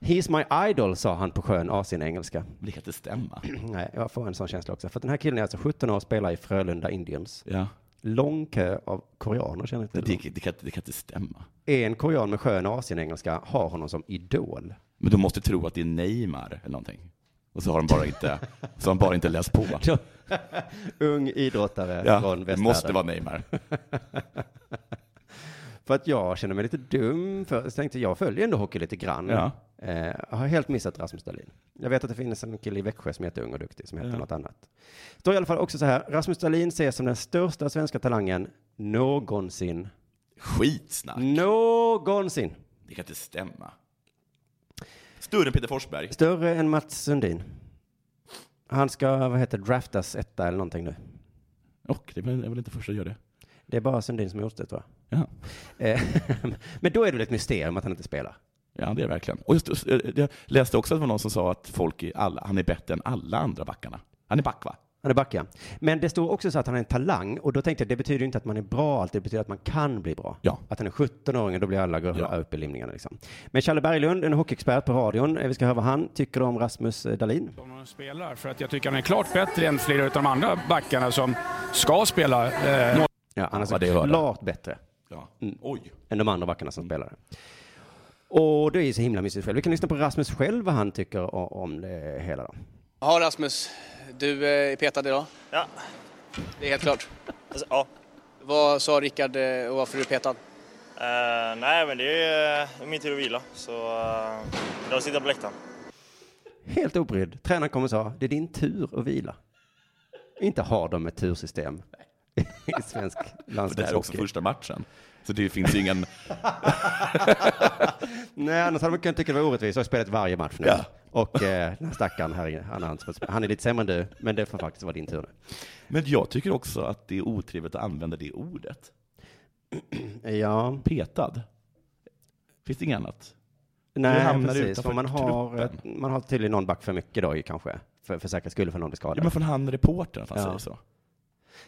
C: He's my idol, sa han på sjön av sin engelska.
D: Det kan inte stämma.
C: Nej, jag får en sån känsla också. För att den här killen är alltså 17 år och spelar i Frölunda Indians.
D: Ja.
C: Lång kö av koreaner känner inte
D: Det,
C: till.
D: det, kan, det kan inte stämma.
C: En korean med skön asien-engelska har honom som idol.
D: Men de måste tro att det är Neymar eller någonting. Och så har de bara inte, så har de bara inte läst på.
C: Ung idrottare
D: Ja,
C: från
D: det
C: västvärlden.
D: måste vara Neymar.
C: För att jag känner mig lite dum, för jag tänkte jag följer ändå hockey lite grann.
D: Ja.
C: Eh, jag har helt missat Rasmus Dahlin. Jag vet att det finns en kille i Växjö som heter Ung och Duktig, som heter något annat. Det står i alla fall också så här, Rasmus Dahlin ses som den största svenska talangen någonsin.
D: Skitsnack.
C: Någonsin.
D: Det kan inte stämma. Större än Peter Forsberg.
C: Större än Mats Sundin. Han ska, vad heter det, draftas etta eller någonting nu.
D: Och det är väl- är väl inte första som gör det.
C: Det är bara Sundin som har gjort det, tror
D: Ja,
C: jag. Eh, Men då är det väl ett mysterium att han inte spelar.
D: ja det är verkligen. Och just, eh, jag läste också att det var någon som sa att folk i alla, han är bättre än alla andra backarna. Han är back va?
C: Han är back, ja. Men det står också så att han är en talang och då tänkte jag det betyder ju inte att man är bra alltid, det betyder att man kan bli bra.
D: Ja.
C: Att han är 17-åring och då blir alla gula
D: Ja.
C: upp i limningarna liksom. Men Challe Berglund, en hockeyexpert på radion, eh, vi ska höra vad han tycker om Rasmus eh, Dahlin.
H: om han spelar. För att jag tycker han är klart bättre än flera av de andra backarna som ska spela. Eh,
C: Ja, han är så
D: vad det hörde.
C: klart bättre
D: Ja. Oj.
C: än de andra backarna som spelade. Och det är ju så himla mysigt själv. Vi kan lyssna på Rasmus själv vad han tycker o- om det hela då.
H: ja, Rasmus. Du eh, är petad idag. Ja. Det är helt klart. ja. Vad sa Rickard eh, och varför är du petad? nej, men det är eh, min tur att vila. Så eh, jag sitter på läktaren.
C: Helt obrydd. Tränaren kommer och sa, det är din tur att vila. Inte har de ett tursystem i svensk
D: För det här är också
C: landslagshockey.
D: första matchen. Så det finns ju ingen...
C: Nej, annars hade man kunnat tycka det var orättvist. Jag har spelat varje match nu.
D: Ja.
C: Och eh, den här stackaren här, inne, han, har inte fått spela. han är lite sämre än du, men det får faktiskt vara din tur
D: Men jag tycker också att det är otrevligt att använda det ordet.
C: nu. Ja,
D: Petad. Finns det inget annat? Du
C: nej,
D: hamnar
C: precis.
D: utanför
C: För man, har, eh,
D: truppen.
C: man har tydligen någon back för mycket då ju kanske. För, för säkerhets skull, för någon blir skadad.
D: Ja, men från han reportern, att han
C: Ja.
D: säger så.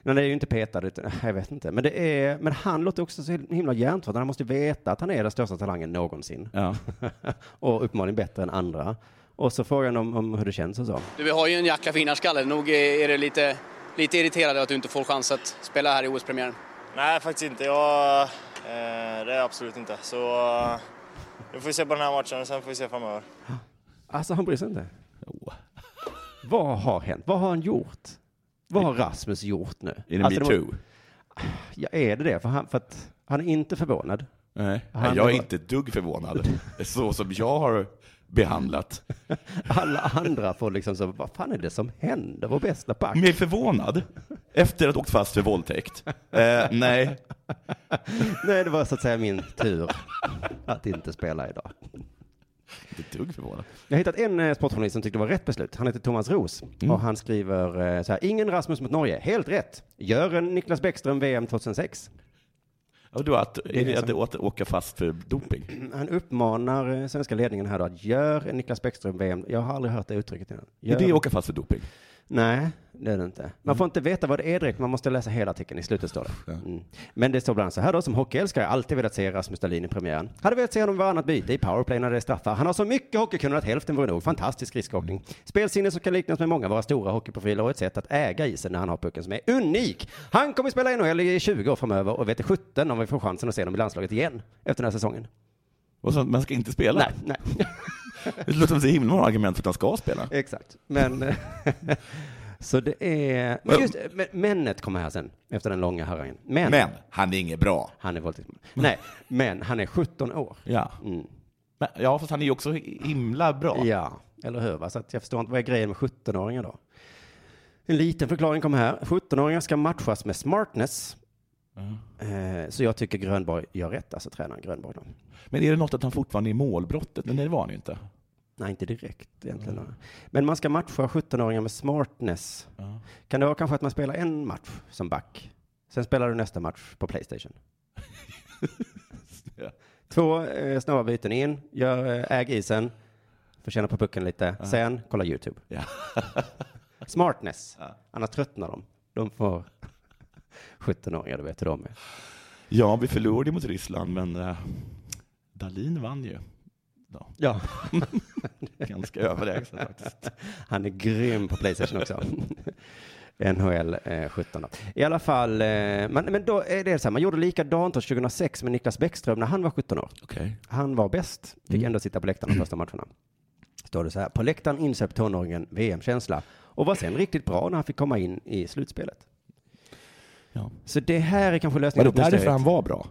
C: Men det är ju inte petad, utan, jag vet inte. Men, det är, men han låter också så himla hjärntvättad. Han måste ju veta att han är den största talangen någonsin.
D: Ja.
C: och uppenbarligen bättre än andra. Och så frågar han om, om hur det känns och så.
H: Du har ju en jäkla vinnarskalle. Nog är det lite, lite irriterande att du inte får chans att spela här i OS-premiären. Nej, faktiskt inte. Jag, eh, det är absolut inte. Så eh, vi får se på den här matchen och sen får vi se framöver.
C: Alltså, han bryr sig inte.
D: Åh.
C: Vad har hänt? Vad har han gjort? Vad har Rasmus gjort nu?
D: Är det
C: Alltså, det var-
D: metoo?
C: Ja, är det det? För han, för att han är inte förvånad.
D: Nej,
C: Han
D: jag är
C: bara-
D: inte ett dugg förvånad. Så som jag har behandlat.
C: Alla andra får liksom så, vad fan är det som händer? Vår bästa back.
D: Mer förvånad? Efter att ha åkt fast för våldtäkt? Eh, nej.
C: Nej, det var så att säga min tur att inte spela idag.
D: Inte ett dugg förvånad.
C: Jag har hittat en eh, sportjournalist som tyckte det var rätt beslut. Han heter Thomas Roos
D: Mm.
C: och han skriver eh, så här. Ingen Rasmus mot Norge. Helt rätt. Gör en Niklas Bäckström VM 2006.
D: Och då att,
C: Det är
D: är det
C: det
D: att åter- åka fast för doping?
C: Han uppmanar eh, svenska ledningen här då att gör en Niklas Bäckström VM. Jag har aldrig hört det uttrycket innan.
D: Är det åka fast för doping?
C: Nej, det är det inte. Man får inte veta vad det är direkt, man måste läsa hela artikeln. I slutet står det. Mm. Men det står bland annat så här då, som hockeyälskare har jag alltid velat se Rasmus Dahlin i premiären. Hade velat se honom i varannat byte i powerplay när det är straffar. Han har så mycket hockeykunnande att hälften vore nog. Fantastisk skridskoåkning. Spelsinne som kan liknas med många av våra stora hockeyprofiler och ett sätt att äga isen när han har pucken som är unik. Han kommer spela i NHL i 20 år framöver och vet i 17 om vi får chansen att se honom i landslaget igen efter den här säsongen.
D: Och så, man ska inte spela?
C: Nej, nej.
D: Det låter som så himla många argument för att han ska spela.
C: Exakt. Men... eh, så det är... Men just, eh, men, männet kommer här sen, efter den långa harrangen. Men,
D: Men, han är inget bra.
C: Han är våldtäktsman. Nej, men han är 17 år. Mm.
D: Ja. Men, ja, fast han är ju också himla bra.
C: Ja, eller hur? Va? Så att jag förstår inte, vad är grejen med 17-åringar då? En liten förklaring kommer här. 17-åringar ska matchas med smartness. Eh, Så jag tycker Grönborg gör rätt, alltså tränaren Grönborg. Då.
D: Men är det något att han fortfarande är i målbrottet? Men det var han ju inte.
C: Nej, inte direkt egentligen. Men man ska matcha 17-åringar med smartness. Kan det vara kanske att man spelar en match som back? Sen spelar du nästa match på Playstation. Två eh, snabba byten in, gör, eh, äg isen, får känna på pucken lite. Sen kolla YouTube. smartness. Annars tröttnar de. De får 17-åringar, det vet hur de är.
D: Ja, vi förlorade mot Ryssland, men eh, Dalin vann ju.
C: Ja.
D: Ganska överlägset faktiskt.
C: Han är grym på Playstation också. NHL eh, 17. då. I alla fall, eh, man, men då är det så här, man gjorde likadant år 2006 med Niklas Bäckström när han var 17 år.
D: Okej.
C: Han var bäst, fick ändå sitta på läktaren de första matcherna. Står det så här, på läktaren insöp tonåringen VM-känsla och var sen riktigt bra när han fick komma in i slutspelet.
D: Ja.
C: Så det här är kanske
D: Var
C: lösningen.
D: det
C: på mysteriet.
D: därför han var bra?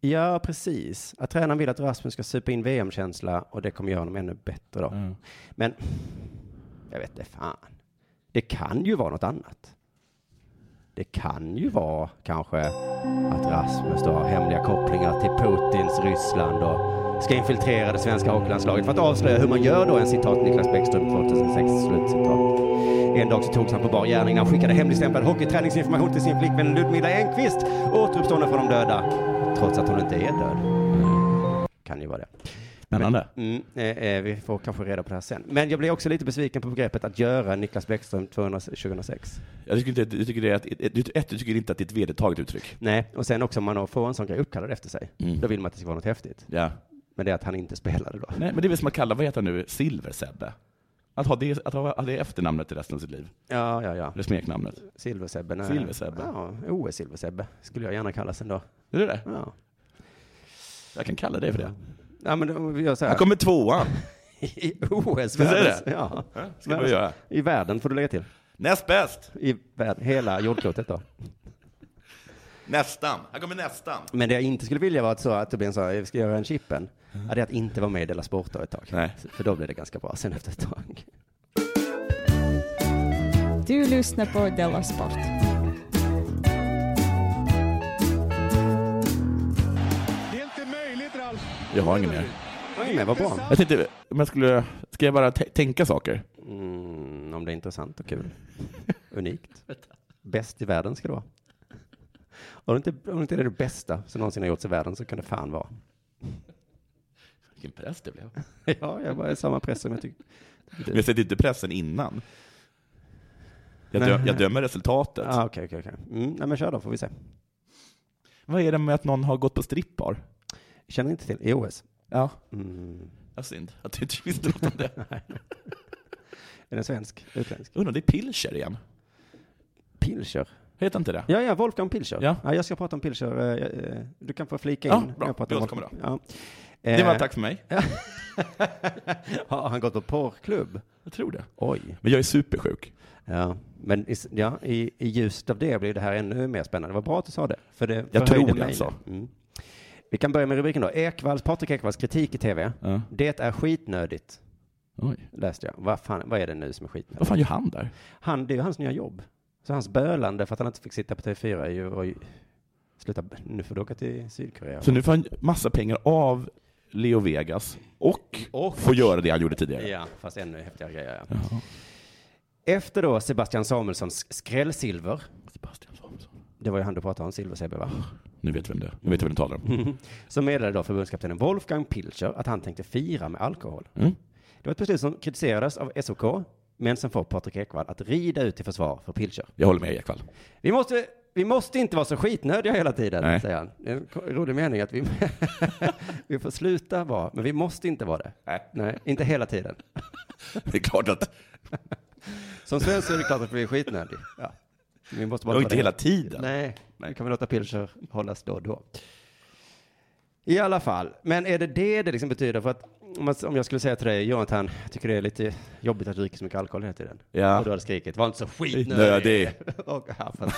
C: Ja, precis. Att tränaren vill att Rasmus ska supa in VM-känsla och det kommer göra honom ännu bättre då. Men jag vet inte fan. Det kan ju vara något annat. Det kan ju vara kanske att Rasmus då har hemliga kopplingar till Putins Ryssland och ska infiltrera det svenska hockeylandslaget för att avslöja hur man gör då en citat Niklas Bäckström 2006 slutcitat. En dag så togs han på bar gärning när han skickade hemligstämplad hockeyträningsinformation till sin flickvän Ludmilla Engqvist återuppstående från de döda trots att hon inte är död. Kan ju vara det.
D: Spännande.
C: Mm, eh, eh, vi får kanske reda på det här sen. Men jag blir också lite besviken på begreppet att göra Niklas Bäckström 200 2006.
D: Jag tycker, inte, jag tycker det är att, ett, ett, du tycker inte att det är ett vedertaget uttryck.
C: Nej, och sen också om man då får en sån grej uppkallad efter sig,
D: Mm.
C: då vill man att det ska vara något häftigt.
D: Ja.
C: Men det är att han inte spelade då.
D: Nej, men det är väl som att kalla, vad heter han nu, Silver-Sebbe? Att ha det, att ha ha det efternamnet i resten av sitt liv.
C: Ja, ja, ja.
D: Eller smeknamnet.
C: Silversebbe. nej.
D: Silversebbe.
C: Ja, OS-Silversebbe skulle jag gärna kallas ändå.
D: Är det det?
C: Ja.
D: Jag kan kalla dig för det.
C: Ja, men då- vi gör så här.
D: Jag kommer tvåa.
C: I OS.
D: Visst är det?
C: världens- Ja.
D: Ja, ska man göra.
C: I världen får du lägga till.
D: Näst bäst.
C: I världen, hela jordklotet då.
D: Nästan. Här kommer nästan.
C: Men det jag inte skulle vilja vara att, så, att Tobias sa, vi ska göra en Chippen, ja, det är att inte vara med i Della Sport då ett tag.
D: Nej.
C: För då blir det ganska bra sen efter ett tag.
I: Du lyssnar på Della Sport.
D: Jag har ingen mer.
C: Oj, men vad bra.
D: Jag tänkte, om jag skulle, ska jag bara tä- tänka saker?
C: Mm, om det är intressant och kul. Unikt. Bäst i världen ska det vara. Om det inte, om det, inte är det bästa som någonsin har gjorts i världen så kan det fan vara.
D: Vilken press det blev.
C: Ja, jag var i samma press som jag tyckte.
D: Men jag sätter inte pressen innan. Jag,
C: Nej.
D: dö, jag dömer resultatet.
C: Ja, okej, okej, okej. Mm, nej, men kör då, får vi se.
D: Vad är det med att någon har gått på strippbar?
C: Känner inte
D: E
C: till EOS.
D: Ja.
C: Mm.
D: Vad synd att du inte visste något om det.
C: Är den svensk? Utländsk?
D: Undrar, det är Pilcher igen.
C: Pilcher?
D: Heter inte det?
C: Ja, ja, Wolfgang Pilcher.
D: Ja.
C: jag ska prata om Pilcher. eh, eh, Du kan få flika in.
D: Ja,
C: när
D: bra.
C: jag pratar om
D: Vi återkommer
C: Wolfgang. Eh,
D: Det var tack för mig.
C: Har han gått på porrklubb?
D: Jag tror det.
C: Oj.
D: Men jag är supersjuk.
C: Ja, men i, s- ja, i, i ljuset av det blir det här ännu mer spännande. Vad bra att du sa det. För det
D: Jag
C: förhöjde
D: tror det,
C: mig.
D: alltså.
C: Mm. Vi kan börja med rubriken då. Ekvalls, Patrik Ekvalls kritik i tv. Det är skitnödigt.
D: Oj.
C: Läste jag. Vad, fan, vad är det nu som är skitnödigt?
D: Vad fan gör han där?
C: Han, det är ju hans nya jobb. Så hans bölande för att han inte fick sitta på TV4 är ju... Oj, sluta, b- nu får du åka till Sydkorea.
D: Så nu får han massa pengar av Leo Vegas och, får göra det han gjorde tidigare.
C: Ja, fast ännu häftigare grejer. Ja. Efter då Sebastian Samuelssons skrällsilver.
D: Sebastian Samuelsson.
C: Det var ju han du pratade om, Silver-CB va?
D: Nu vet vem det är. Nu vet jag vem du talar om.
C: Så meddelade då förbundskaptenen Wolfgang Pilcher att han tänkte fira med alkohol.
D: Mm.
C: Det var ett beslut som kritiserades av SOK, men som får Patrik Ekwall att rida ut till försvar för Pilcher.
D: Jag håller med Ekvall.
C: Vi måste, vi måste inte vara så skitnödiga hela tiden,
D: Nej.
C: säger han. Det är en ko- rolig mening att vi, vi får sluta vara, men vi måste inte vara det.
D: Nej.
C: inte hela tiden.
D: Det är klart att...
C: Som svensk är det klart att vi är skitnödig. Ja. Vi måste bara
D: Och
C: ta
D: inte
C: det.
D: hela tiden.
C: Nej, nu kan vi låta Pilcher hållas då och då. I alla fall, men är det det det liksom betyder? För att om man- om jag skulle säga till dig, Jonathan, jag tycker det är lite jobbigt att du dricker så mycket alkohol hela tiden.
D: Ja.
C: Och du hade skrikit, var inte så
D: Nödig.
C: skitnödig. och, ja, fast,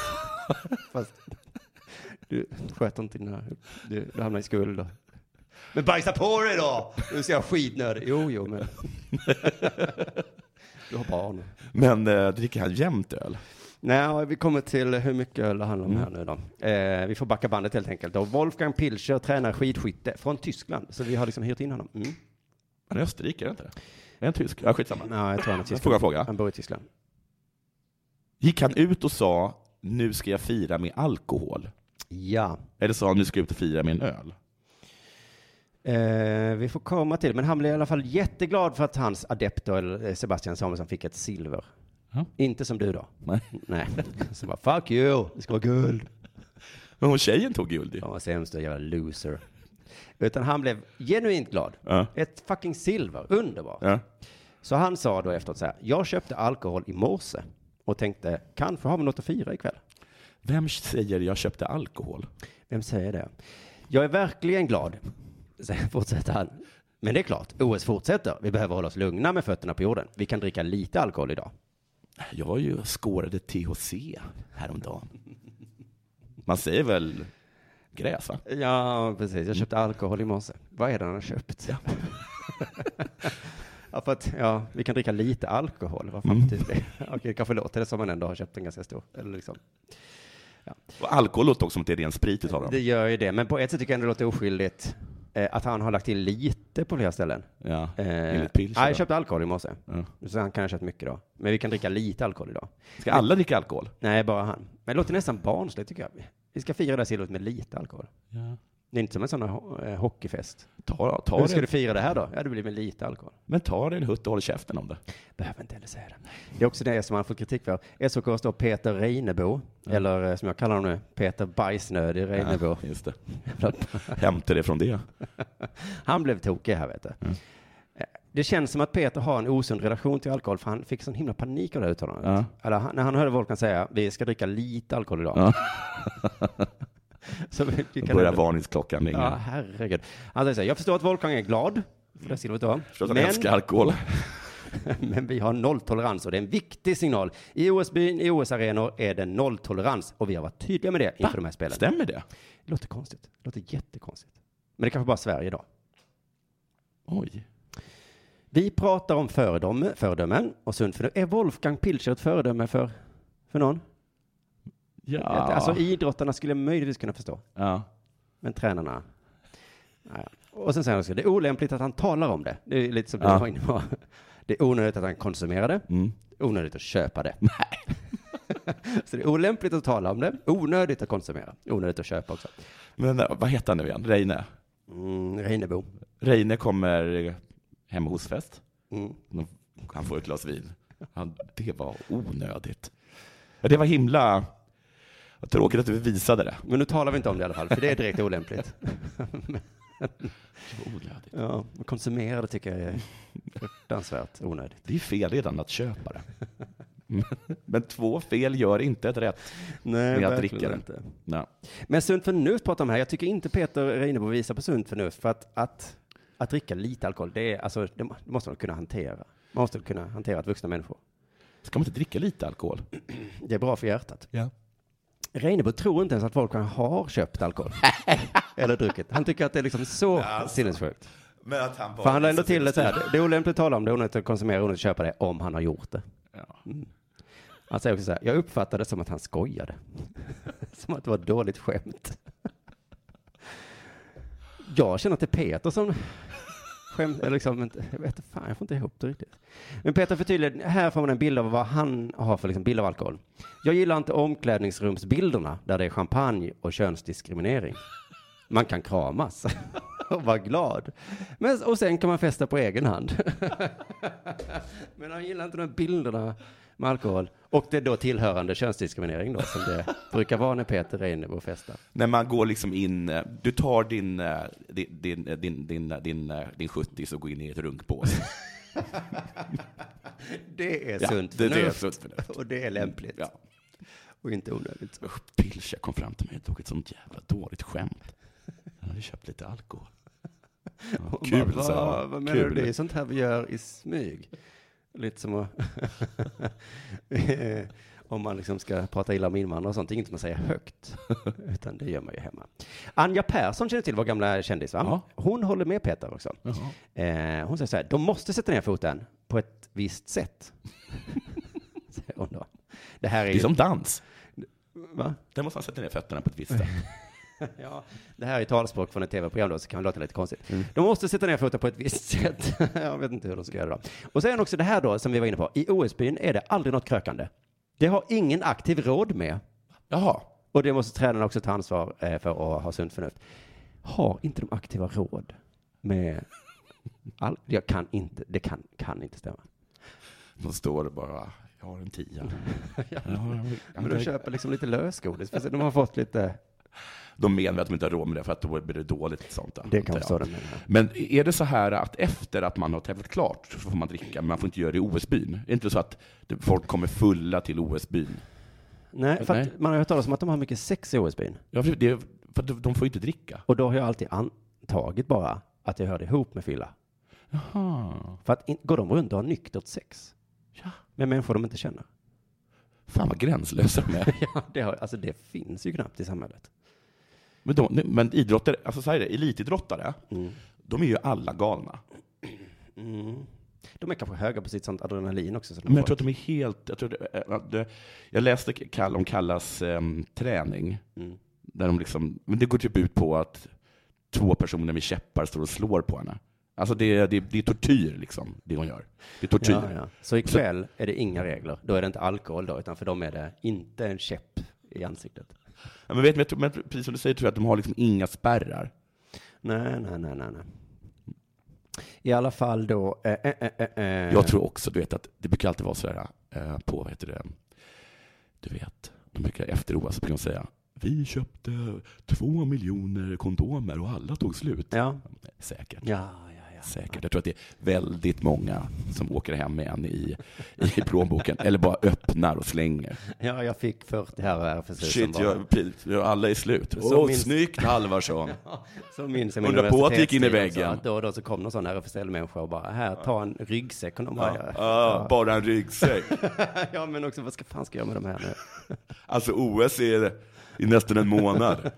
C: fast du sköter inte dina, du, du hamnar i skuld. Och, men bajsa på dig då! Nu ser jag skitnödig. Jo, jo, men. du har barn.
D: Men eh, dricker han jämt öl?
C: Nej, vi kommer till hur mycket öl det handlar om här nu då. Eh, vi får backa bandet helt enkelt. Och Wolfgang Pilcher tränar skidskytte från Tyskland, så vi har liksom hyrt in honom. Mm.
D: Han är österrikare, inte det? Är han tysk? Ja, skitsamma.
C: Nej, jag tror han är tysk.
D: Fråga, fråga.
C: Han bor i Tyskland.
D: Gick han ut och sa nu ska jag fira med alkohol?
C: Ja.
D: Eller sa han nu ska jag ut och fira med en öl?
C: Eh, vi får komma till men han blev i alla fall jätteglad för att hans adept då, eller, eh, Sebastian Samuelsson fick ett silver.
D: Ja.
C: Inte som du då.
D: Nej.
C: Nej. Så bara, fuck you, det ska vara guld.
D: Men hon tjejen tog guld ju.
C: Han var sämst och jävla loser. Utan han blev genuint glad.
D: Ja.
C: Ett fucking silver, underbart.
D: Ja.
C: Så han sa då efteråt så här, jag köpte alkohol i morse och tänkte, kanske har vi något att fira ikväll.
D: Vem säger jag köpte alkohol?
C: Vem säger det? Jag är verkligen glad, säger- fortsätter han. Men det är klart, OS fortsätter. Vi behöver hålla oss lugna med fötterna på jorden. Vi kan dricka lite alkohol idag.
D: Jag ju skårade THC häromdagen. Man säger väl gräs, va?
C: Ja, precis. Jag köpte alkohol i morse. Vad är det han har köpt? Ja. för att, ja, vi kan dricka lite alkohol. Vad fan betyder det? Okej, det kanske låter det som man ändå har köpt en ganska stor. Eller liksom.
D: Och alkohol låter också som att det är ren sprit utav dem.
C: Det gör ju det, men på ett sätt tycker jag ändå det låter oskyldigt eh, att han har lagt till lite på flera ställen.
D: Ja,
C: Eh,
D: enligt Pilcher
C: nej,
D: då.
C: jag köpte alkohol i morse,
D: Ja.
C: så han kan ha köpt mycket då. Men vi kan dricka lite alkohol idag.
D: Ska alla dricka alkohol?
C: Nej, bara han. Men det låter nästan barnsligt tycker jag. Vi ska fira det här silvret med lite alkohol.
D: Ja.
C: Det är inte som en sån här ho- eh, hockeyfest.
D: Ta, ta
C: Hur ska
D: det.
C: du fira det här då? Ja, det blir med lite alkohol.
D: Men ta dig en hutt och håll käften om det.
C: Behöver inte heller säga det. Det är också det som han får kritik för. SOK står Peter Reinebo, eller eh, som jag kallar honom nu, Peter Bajsnödig Reinebo.
D: Ja, just det. Hämta det från det.
C: Han blev tokig här, vet du.
D: Mm.
C: Eh, Det känns som att Peter har en osund relation till alkohol, för han fick sån himla panik av det här uttalandet. Eller, han- när han hörde Volkan säga, vi ska dricka lite alkohol idag. Så vi, vi
D: Då börjar varningsklockan ringa.
C: Ja, herregud. Han säger så här, jag förstår att Volkan är glad, för det silvret då.
D: Förstås att han älskar alkohol.
C: men vi har nolltolerans och det är en viktig signal. I OS-byn, i OS-arenor är det nolltolerans och vi har varit tydliga med det inför de här spelen.
D: Stämmer det?
C: Det låter konstigt. Det låter jättekonstigt. Men det är kanske bara Sverige då.
D: Oj.
C: Vi pratar om föredöme, föredömen och sunt förnuft. Är Wolfgang Pilcher ett föredöme för, för någon?
D: Ja.
C: Alltså idrottarna skulle jag möjligtvis kunna förstå,
D: ja.
C: men tränarna? Nej. Och sen säger han också, det är olämpligt att han talar om det. Det är lite som
D: Ja.
C: du var inne på. Det är onödigt att han konsumerar det.
D: Mm.
C: Onödigt att köpa det. Så det är olämpligt att tala om det. Onödigt att konsumera. Onödigt att köpa också.
D: Men eh, vad heter han nu igen? Reine?
C: Mm, Reinebo.
D: Reine kommer hem hos fest.
C: Mm.
D: Han får ett glas vin. Han, det var onödigt. Ja, det var himla vad tråkigt att du visade det.
C: Men nu talar vi inte om det i alla fall, för det är direkt olämpligt.
D: Det var onödigt.
C: Ja, och konsumera det tycker jag är fruktansvärt onödigt.
D: Det är fel redan att köpa det. Men två fel gör inte ett rätt
C: Nej,
D: med att
C: verkligen
D: dricka det.
C: inte.
D: Nej.
C: Men sunt förnuft pratar de här. Jag tycker inte Peter Reinebo visar på sunt förnuft för att, att Att dricka lite alkohol, det, är, alltså, det må- det måste man kunna hantera. Man måste kunna hantera att vuxna människor.
D: Ska man inte dricka lite alkohol?
C: Det är bra för hjärtat.
D: Ja.
C: Reinebo tror inte ens att folk har köpt alkohol. Eller druckit. Han tycker att det är liksom så sinnessjukt.
J: alltså. Men att han bara... liksom
C: För han lade ändå till det så här. Det är olämpligt att tala om det, onödigt att konsumera, onödigt att köpa det, om han har gjort det. Mm. Han säger också så här, jag uppfattade det som att han skojade. som att det var ett dåligt skämt. jag känner att det är Peter som skämt, eller liksom, inte- jag vet inte, fan, jag får inte ihop det riktigt. Men Peter förtydligar, här får man en bild av vad han har för liksom, bild av alkohol. Jag gillar inte omklädningsrumsbilderna där det är champagne och könsdiskriminering. Man kan kramas och vara glad. Men, och sen kan man festa på egen hand. Men han gillar inte de här bilderna med alkohol. Och det är då tillhörande könsdiskriminering då, som det brukar vara när Peter Reinebo festar.
D: När man går liksom in, eh, du tar din, eh, din, din, eh, din, din, eh, din, eh, din 70 och går in i ett runkbås.
C: Det är
D: Ja,
C: sunt
D: det- det är
C: förnuft.
D: sunt förnuft.
C: Och det är lämpligt.
D: Ja.
C: Och inte onödigt.
D: Usch, Pilcher kom fram till mig och tog ett sånt jävla dåligt skämt. Han hade köpt lite alkohol. Ja,
C: Och
D: kul,
C: bara,
D: sa jag.
C: vad, vad menar
D: Kul.
C: du? Det är sånt här vi gör i smyg. Lite som att... Om man liksom ska prata illa om invandrare och sånt, det är inget man säger högt, utan det gör man ju hemma. Anja Persson känner till vår gamla kändis, va? Hon håller med Peter också. Eh, hon säger så här, de måste sätta ner foten på ett visst sätt. säger hon då. Det här är,
D: Det är
C: ju-
D: som dans.
C: Va?
D: Där måste man sätta ner fötterna på ett visst sätt.
C: ja, det här är talspråk från ett tv-program då, så kan det låta lite konstigt. De måste sätta ner foten på ett visst sätt. Jag vet inte hur de ska göra det då. Och sen också det här då, som vi var inne på. I OS-byn är det aldrig något krökande. Det har ingen aktiv råd med.
D: Jaha.
C: Och det måste tränarna också ta ansvar eh, för att ha sunt förnuft. Har inte de aktiva råd med... All... Jag kan inte, det kan, kan inte stämma.
D: De står och bara, jag har en tia. Jag har en-
C: Men de köper liksom lite lösgodis, för de har fått lite...
D: De menar att de inte har råd med det för att då blir det dåligt. Sånt, där,
C: Det
D: antar
C: kan
D: jag.
C: vara så de menar.
D: Men är det så här att efter att man har tävlat klart så får man dricka, men man får inte göra det i OS-byn? Är det inte så att det- folk kommer fulla till OS-byn?
C: Nej, för
D: Nej.
C: att man har hört talas om att de har mycket sex i OS-byn.
D: Ja, för, det, för de de får ju inte dricka.
C: Och då har jag alltid antagit bara att jag hörde ihop med fylla.
D: Jaha.
C: För att in, går de runt och har nyktert sex?
D: Ja.
C: Med människor de inte känner?
D: Fan vad gränslösa de är.
C: ja, det, har, alltså, det finns ju knappt i samhället.
D: Men, de, men idrottare, alltså så här är det, elitidrottare, de är ju alla galna.
C: Mm. De är kanske höga på sitt sånt adrenalin också. Så de
D: Men
C: får-
D: jag tror att de är helt... Jag, tror det, eh, det, jag läste Kall, om Kallas em, träning.
C: Mm.
D: Där de liksom, men det går typ ut på att två personer med käppar står och slår på henne. Alltså det, är- det, är- det är tortyr, liksom, det hon gör. Det är tortyr.
C: Ja, ja. Så ikväll är det inga regler. Då är det inte alkohol då, utan för dem är det inte en käpp i ansiktet.
D: Ja, men, vet, men, jag tror- men precis som du säger tror jag att de har liksom inga spärrar.
C: Nej, nej, nej, nej. nej. I alla fall då... Eh, eh, eh, eh, eh.
D: Jag tror också, du vet, att det brukar alltid vara så här eh, på, vad heter det, du vet, de brukar efter OS så brukar de säga vi köpte två miljoner kondomer och alla tog slut.
C: Ja.
D: Säkert.
C: Ja,
D: Säkert. Jag tror att det är väldigt många som åker hem med en i, i plånboken eller bara öppnar och slänger.
C: Ja, jag fick 40 här och RFSU
D: Shit,
C: som var...
D: jag, pil- jag, alla är slut.
C: Så
D: Åh,
C: minns-
D: snyggt Halvarsson.
C: Så minns jag min
D: Undra på att det gick in i
C: universitetstid också,
D: väggen.
C: att Då och då så kom någon sån RFSL-människa och bara, här, ta en ryggsäck. Och de bara,
D: Ja, ja, bara en ryggsäck.
C: ja, men också, vad ska fan ska jag göra med de här nu?
D: Alltså OS är i nästan en månad.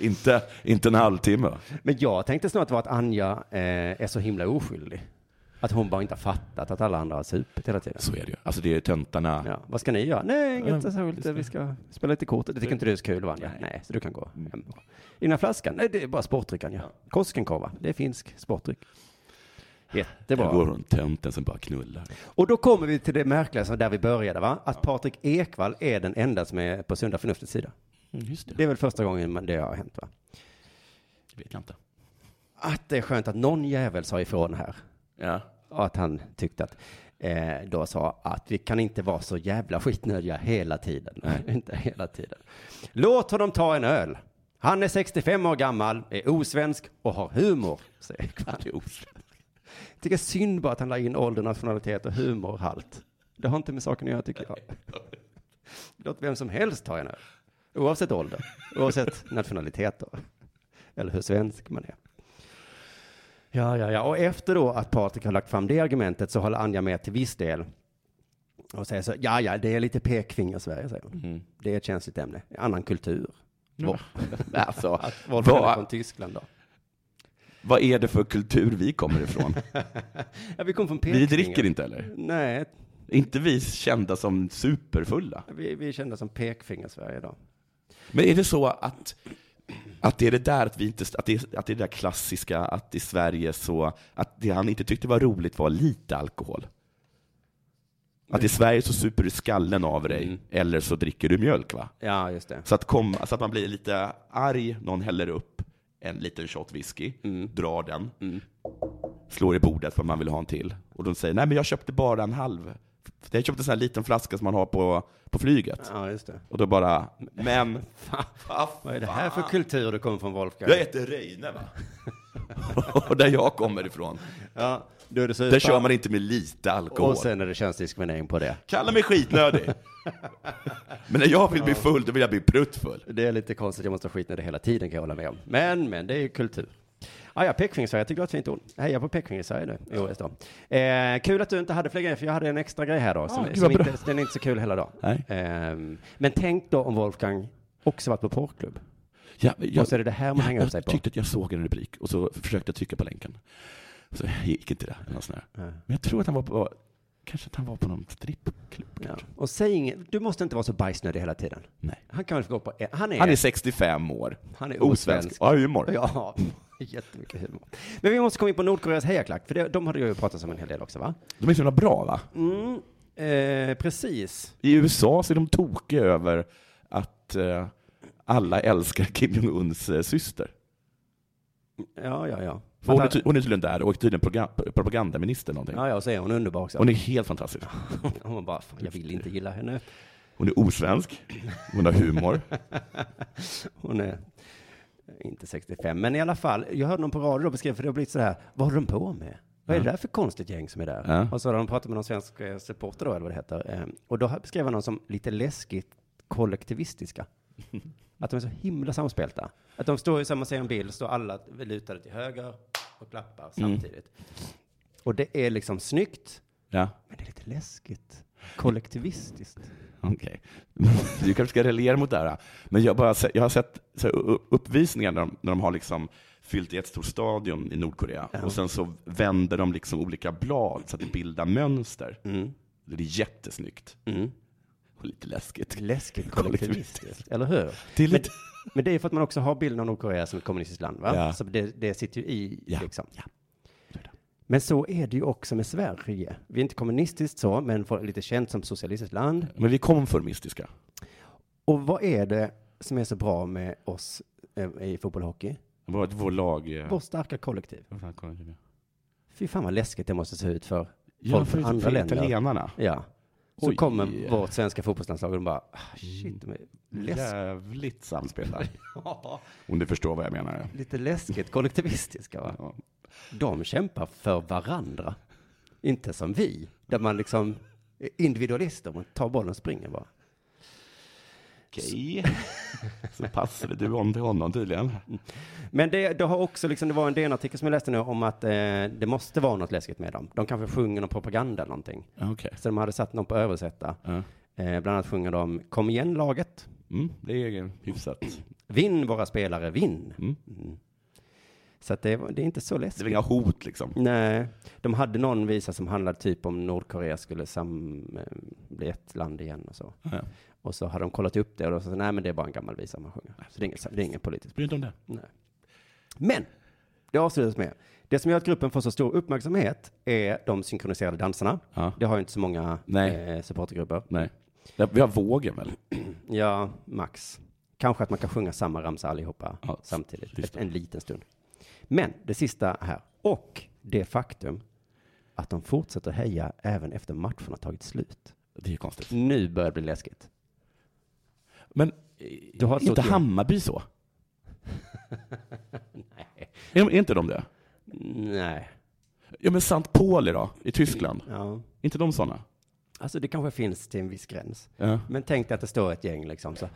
D: inte, inte en halvtimme.
C: Men jag tänkte snart var att Anja eh, är så himla oskyldig. Att hon bara inte har fattat att alla andra har supit hela tiden.
D: Så är det ju. Alltså det är töntarna.
C: Ja, vad ska ni göra? Nej,
D: Ja,
C: inget särskilt. Vi ska spela lite kort. Det tycker inte du är så kul, va, Anja? Nej. så du kan gå
D: Mm.
C: hem. I den här flaskan? Nej, det är bara sportdryck, Anja. Koskenkorva. Det är finsk sportdryck. Jättebra.
D: Där går hon, tönten som bara knullar.
C: Och då kommer vi till det märkliga som där vi började, va? Att Patrik Ekwall är den enda som är på sunda förnuftets sida.
D: Mm, just det.
C: är väl första gången man- det har hänt, va?
D: Det vet jag inte.
C: Att det är skönt att någon jävel sa ifrån här.
D: Ja.
C: Och att han tyckte att, eh, då sa att vi kan inte vara så jävla skitnödiga hela tiden. inte hela tiden. Låt honom ta en öl. Han är 65 år gammal, är osvensk och har humor, säger Ekwall. Jag tycker synd bara att han la in ålder, nationalitet och humorhalt. Det har inte med saken att göra tycker jag. Låt vem som helst ta en öl. Oavsett ålder, oavsett nationalitet då. Eller hur svensk man är. Ja, ja, ja. Och efter då att Patrik har lagt fram det argumentet så håller Anja med till viss del. Och säger så, ja, ja, det är lite pekfinger Sverige, säger hon.
D: Mm.
C: Det är ett känsligt ämne, annan kultur.
D: Ja.
C: alltså,
D: Att
C: vad
D: vad-
C: är från Tyskland då?
D: Vad är det för kultur vi kommer ifrån?
C: Ja, vi kom från
D: vi
C: Peking.
D: dricker inte eller?
C: Nej.
D: Inte vi kända som superfulla?
C: Vi, vi är kända som pekfinger Sverige då.
D: Men är det så att, att det är det där att vi inte, att det, är- att det är det där klassiska att i Sverige så, att det han inte tyckte var roligt var lite alkohol? Att i Sverige så super du skallen av dig, eller så dricker du mjölk va?
C: Ja, just det.
D: Så att, kom, så att man blir lite arg, någon häller upp en liten shot whisky, drar den, slår i bordet för att man vill ha en till. Och de säger, nej men jag köpte bara en halv. Jag köpte en sån här liten flaska som man har på, på flyget.
C: Ja, just det.
D: Och då bara, men
C: Vad är det här för kultur du kommer från Wolfgang?
D: jag heter Reine va? och där jag kommer ifrån,
C: Ja, då är det super.
D: där kör man inte med lite alkohol.
C: Och sen är det könsdiskriminering på det.
D: Kalla mig skitnödig. men när jag vill bli full, då vill jag bli pruttfull.
C: Det är lite konstigt, jag måste ha skitnödig hela tiden kan jag hålla med om. Men, men det är ju kultur. Ah, ja, pekfingersverige, jag tyckte det var ett fint ord. Heja på pekfingersverige nu i OS då. Eh, kul att du inte hade fler grejer, för jag hade en extra grej här då. Som,
D: Ah, gud,
C: som
D: vad bra.
C: inte, den är inte så kul hela dagen. Ehm, men tänk då om Wolfgang också varit på porrklubb.
D: Ja,
C: och så är det det här man
D: ja,
C: hänger
D: jag
C: upp sig på.
D: tyckte att jag såg en rubrik och så försökte jag trycka på länken. Så gick inte det. Eller något sånt där. Men jag tror att han var på, kanske att han var på någon strippklubb.
C: Ja. Och säg inget, du måste inte vara så bajsnödig hela tiden.
D: Nej.
C: Han kan väl få gå på en, han är,
D: Han är 65 år.
C: Han är osvensk.
D: Ja, humor.
C: Ja, jättemycket humor. Men vi måste komma in på Nordkoreas hejaklack, för det, de har ju pratat om en hel del också va?
D: De är så jävla bra va?
C: Mm, eh, precis.
D: I USA så är de tokiga över att eh, alla älskar Kim Jong-Uns eh, syster.
C: Ja, ja, ja.
D: För hon, är ty- hon är tydligen där och är tydligen proga- propagandaminister eller någonting.
C: Ja, ja, och så är hon underbar också.
D: Hon är helt fantastisk.
C: Hon bara, fan, jag vill inte gilla henne.
D: Hon är osvensk, hon har humor.
C: Hon är inte 65, men i alla fall. Jag hörde någon på radio då beskriva, för det har blivit så här, vad håller de på med? Vad är det där för konstigt gäng som är där?
D: Ja.
C: Och så har de pratat med någon svensk eh, supporter då, eller vad det heter. Eh, Och då beskrev han någon som lite läskigt kollektivistiska. Att de är så himla samspelta. Att de står i samma ser en bild, står alla lutade till höger och klappar samtidigt. Och det är liksom snyggt,
D: Ja,
C: men det är lite läskigt. Kollektivistiskt.
D: okej. Du kanske ska reagera mot det här. Men jag, bara, se- jag har sett så här, u- uppvisningar när de, när de har liksom fyllt i ett stort stadion i Nordkorea och sen så vänder de liksom olika blad så att det bildar mönster. Det är jättesnyggt. Och lite läskigt.
C: Läskigt kollektivistiskt, eller hur?
D: Det är lite-
C: men, men det är för att man också har bilden av Nordkorea som ett kommunistiskt land, va?
D: Ja.
C: Så det, det sitter ju i, liksom. Men så är det ju också med Sverige. Vi är inte kommunistiskt så, men får- lite känt som socialistiskt land.
D: Men vi är konformistiska.
C: Och vad är det som är så bra med oss eh, i fotboll och hockey?
D: Vår, vår lag... eh,
C: Vårt starka kollektiv.
D: vår kollektiv, ja.
C: Fy fan vad läskigt det måste se ut för
D: Ja,
C: folk
D: för-
C: från andra
D: för
C: länder.
D: italienarna.
C: Ja. Så
D: Oj.
C: kommer vårt svenska fotbollslandslag och de bara, ah, shit, de är
D: Mm.
C: läskiga.
D: Jävligt samspelare.
C: Ja.
D: Om du förstår vad jag menar.
C: lite läskigt kollektivistiska. Va? De kämpar för varandra, inte som vi, där man liksom är individualister, man tar bollen och springer bara.
D: Okej. Så passade du om till honom tydligen.
C: Men det, det har också, liksom, det var en DN-artikel som jag läste nu om att eh, det måste vara något läskigt med dem. De kanske sjunger någon propaganda eller någonting.
D: Okej.
C: Så de hade satt någon på att översätta. Eh, bland annat sjunger de Kom igen laget,
D: Mm, det är hyfsat.
C: vinn våra spelare, vinn. Mm. Så att det, var- det är inte så läskigt.
D: Det är inga hot liksom.
C: Nej, de hade någon visa som handlade typ om Nordkorea skulle sam- eh, bli ett land igen och så.
D: Ja.
C: Och så hade de kollat upp det och då sa de, nej men det är bara en gammal visa man sjunger. Så det är inget, det är inget politiskt.
D: Bry dig om det.
C: Nej. Men, det avslutas med, det som gör att gruppen får så stor uppmärksamhet är de synkroniserade danserna.
D: Ja.
C: Det har ju inte så många
D: Nej.
C: eh, supportergrupper.
D: Nej. Ja, Vi har vågen väl?
C: Ja, max. Kanske att man kan sjunga samma ramsa allihopa
D: Ja,
C: samtidigt,
D: just
C: efter en liten stund. Men det sista här, och det faktum att de fortsätter heja även efter matchen har tagit slut.
D: Det är ju konstigt.
C: Nu börjar det bli läskigt.
D: Men
C: Du har ett
D: är inte
C: stort-
D: Hammarby så? Nej. Är, de, är inte de det?
C: Nej.
D: Ja men St. Pauli då, i Tyskland?
C: Ja.
D: Är inte de sådana?
C: Alltså det kanske finns till en viss gräns.
D: Ja.
C: Men tänk dig att det står ett gäng liksom så. La,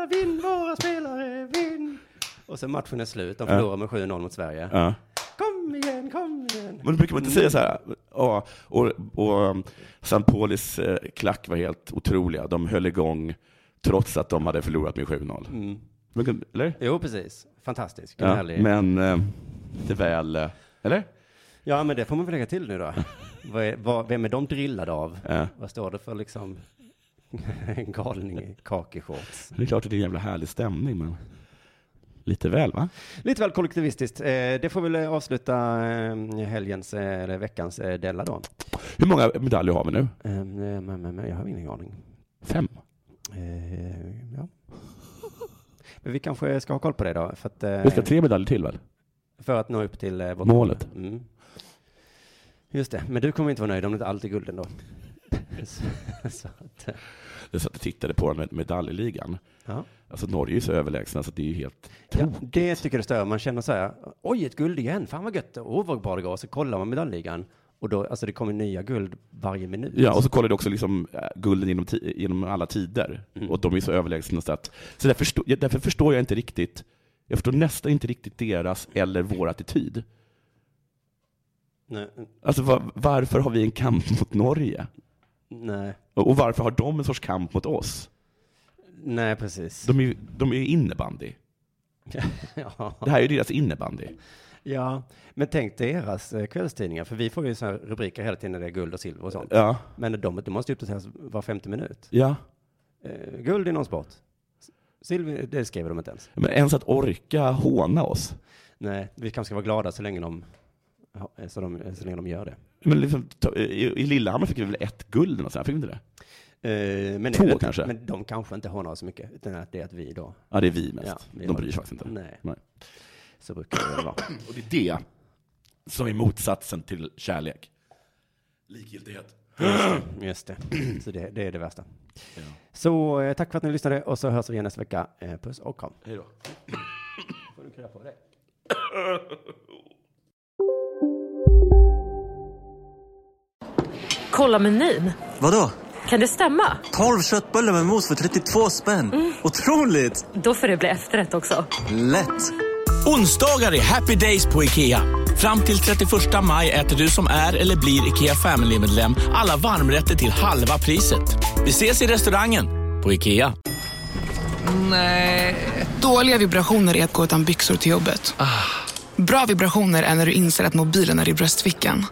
C: la, vinn våra spelare, vinn! Och sen matchen är slut, de
D: Ja.
C: förlorar med 7-0 mot Sverige.
D: Ja.
C: Kom igen, kom igen.
D: Men brukar man inte säga så här? Ja, och, och St. Paulis eh, klack var helt otroliga. De höll igång trots att de hade förlorat med 7-0.
C: Mm.
D: Men kan- Eller?
C: Jo, precis. Fantastisk. Vilken
D: Ja,
C: härlig-
D: men eh, lite väl... eh, Eller?
C: Ja, men det får man väl lägga till nu då. vad är, vad, vem är de drillade av?
D: Ja.
C: Vad står det för liksom? en galning i kakeshorts.
D: Det är klart att det är en jävla härlig stämning, men lite väl va?
C: Lite väl kollektivistiskt. Eh, det får väl eh, avsluta eh, helgens, eh, eller veckans eh, Della då.
D: Hur många medaljer har vi nu?
C: Eh, men, men, men, jag har ingen aning.
D: Fem?
C: Eh, ja. Men vi kanske ska ha koll på det då. För att, eh,
D: Vi ska ha tre medaljer till väl?
C: För att nå upp till eh, vårt
D: Målet.
C: mål. Mm. Just det, men du kommer inte vara nöjd om det inte allt är guld ändå. så att, eh,
D: Jag satt och tittade på den med medaljligan.
C: Ja.
D: Alltså Norge är ju så överlägsna så det är ju helt...
C: ja, det tycker jag stör. Man känner så här, oj ett guld igen, fan vad gött, åh vad bra det går. Så kollar man medaljligan och då, alltså det kommer nya guld varje minut.
D: Ja, och så kollade jag också liksom eh, gulden genom, ti- genom alla tider. Och de är så överlägsna. Så, att, så därför, förstår, jag- därför förstår jag inte riktigt, jag förstår nästan inte riktigt deras eller vår attityd.
C: Nej,
D: Alltså va- varför har vi en kamp mot Norge?
C: nej,
D: Och, och varför har de en sorts kamp mot oss?
C: nej precis.
D: De är ju de är ju innebandy.
C: ja.
D: Det här är ju deras innebandy.
C: Ja, men tänk deras eh, kvällstidningar, för vi får ju så här rubriker hela tiden när det är guld och silver och sånt.
D: Ja.
C: Men de, de måste ju uppdateras var femte minut.
D: Ja.
C: Eh, guld i någon sport. S- Silver, det skriver de inte ens.
D: Men ens att orka håna oss.
C: Nej, vi kanske ska vara glada så länge de, ja, eh, så de, så länge de gör det.
D: Men liksom, ta- i, I Lillehammer fick vi väl ett guld eller något sånt, här, fick vi inte
C: det? Eh, men
D: Två
C: det,
D: kanske?
C: Men de kanske inte har något så mycket, utan att det är att vi då.
D: Ja, det är vi mest. de
C: vi har-
D: bryr sig faktiskt inte.
C: Nej. Så brukar det väl vara.
D: Och det är det som är motsatsen till kärlek. Likgiltighet.
C: Just det. Så det, det är det värsta. Så eh, tack för att ni lyssnade och så hörs vi igen nästa vecka. Eh, puss och kram.
D: Hej då.
C: Får du krya på dig?
J: Kolla menyn.
K: Vadå?
J: Kan det stämma?
K: 12 köttbullar med mos för 32 spänn.
H: Mm.
K: Otroligt!
J: Då får det bli efterrätt också.
K: Lätt!
L: Onsdagar är happy days på IKEA. Fram till 31 maj äter du som är eller blir IKEA Family-medlem alla varmrätter till halva priset. Vi ses i restaurangen på IKEA.
M: Nej. Dåliga vibrationer är att gå utan byxor till jobbet. Bra vibrationer är när du inser att mobilen är i bröstfickan.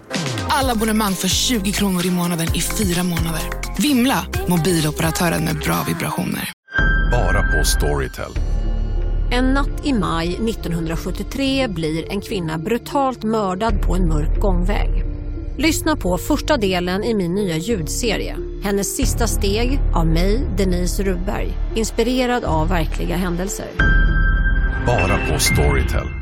M: Alla abonnemang för 20 kronor i månaden i fyra månader. Vimla! Mobiloperatören med bra vibrationer.
N: Bara på Storytel.
O: En natt i maj 1973 blir en kvinna brutalt mördad på en mörk gångväg. Lyssna på första delen i min nya ljudserie. Hennes sista steg av mig, Denise Rubberg. Inspirerad av verkliga händelser.
N: Bara på Storytel.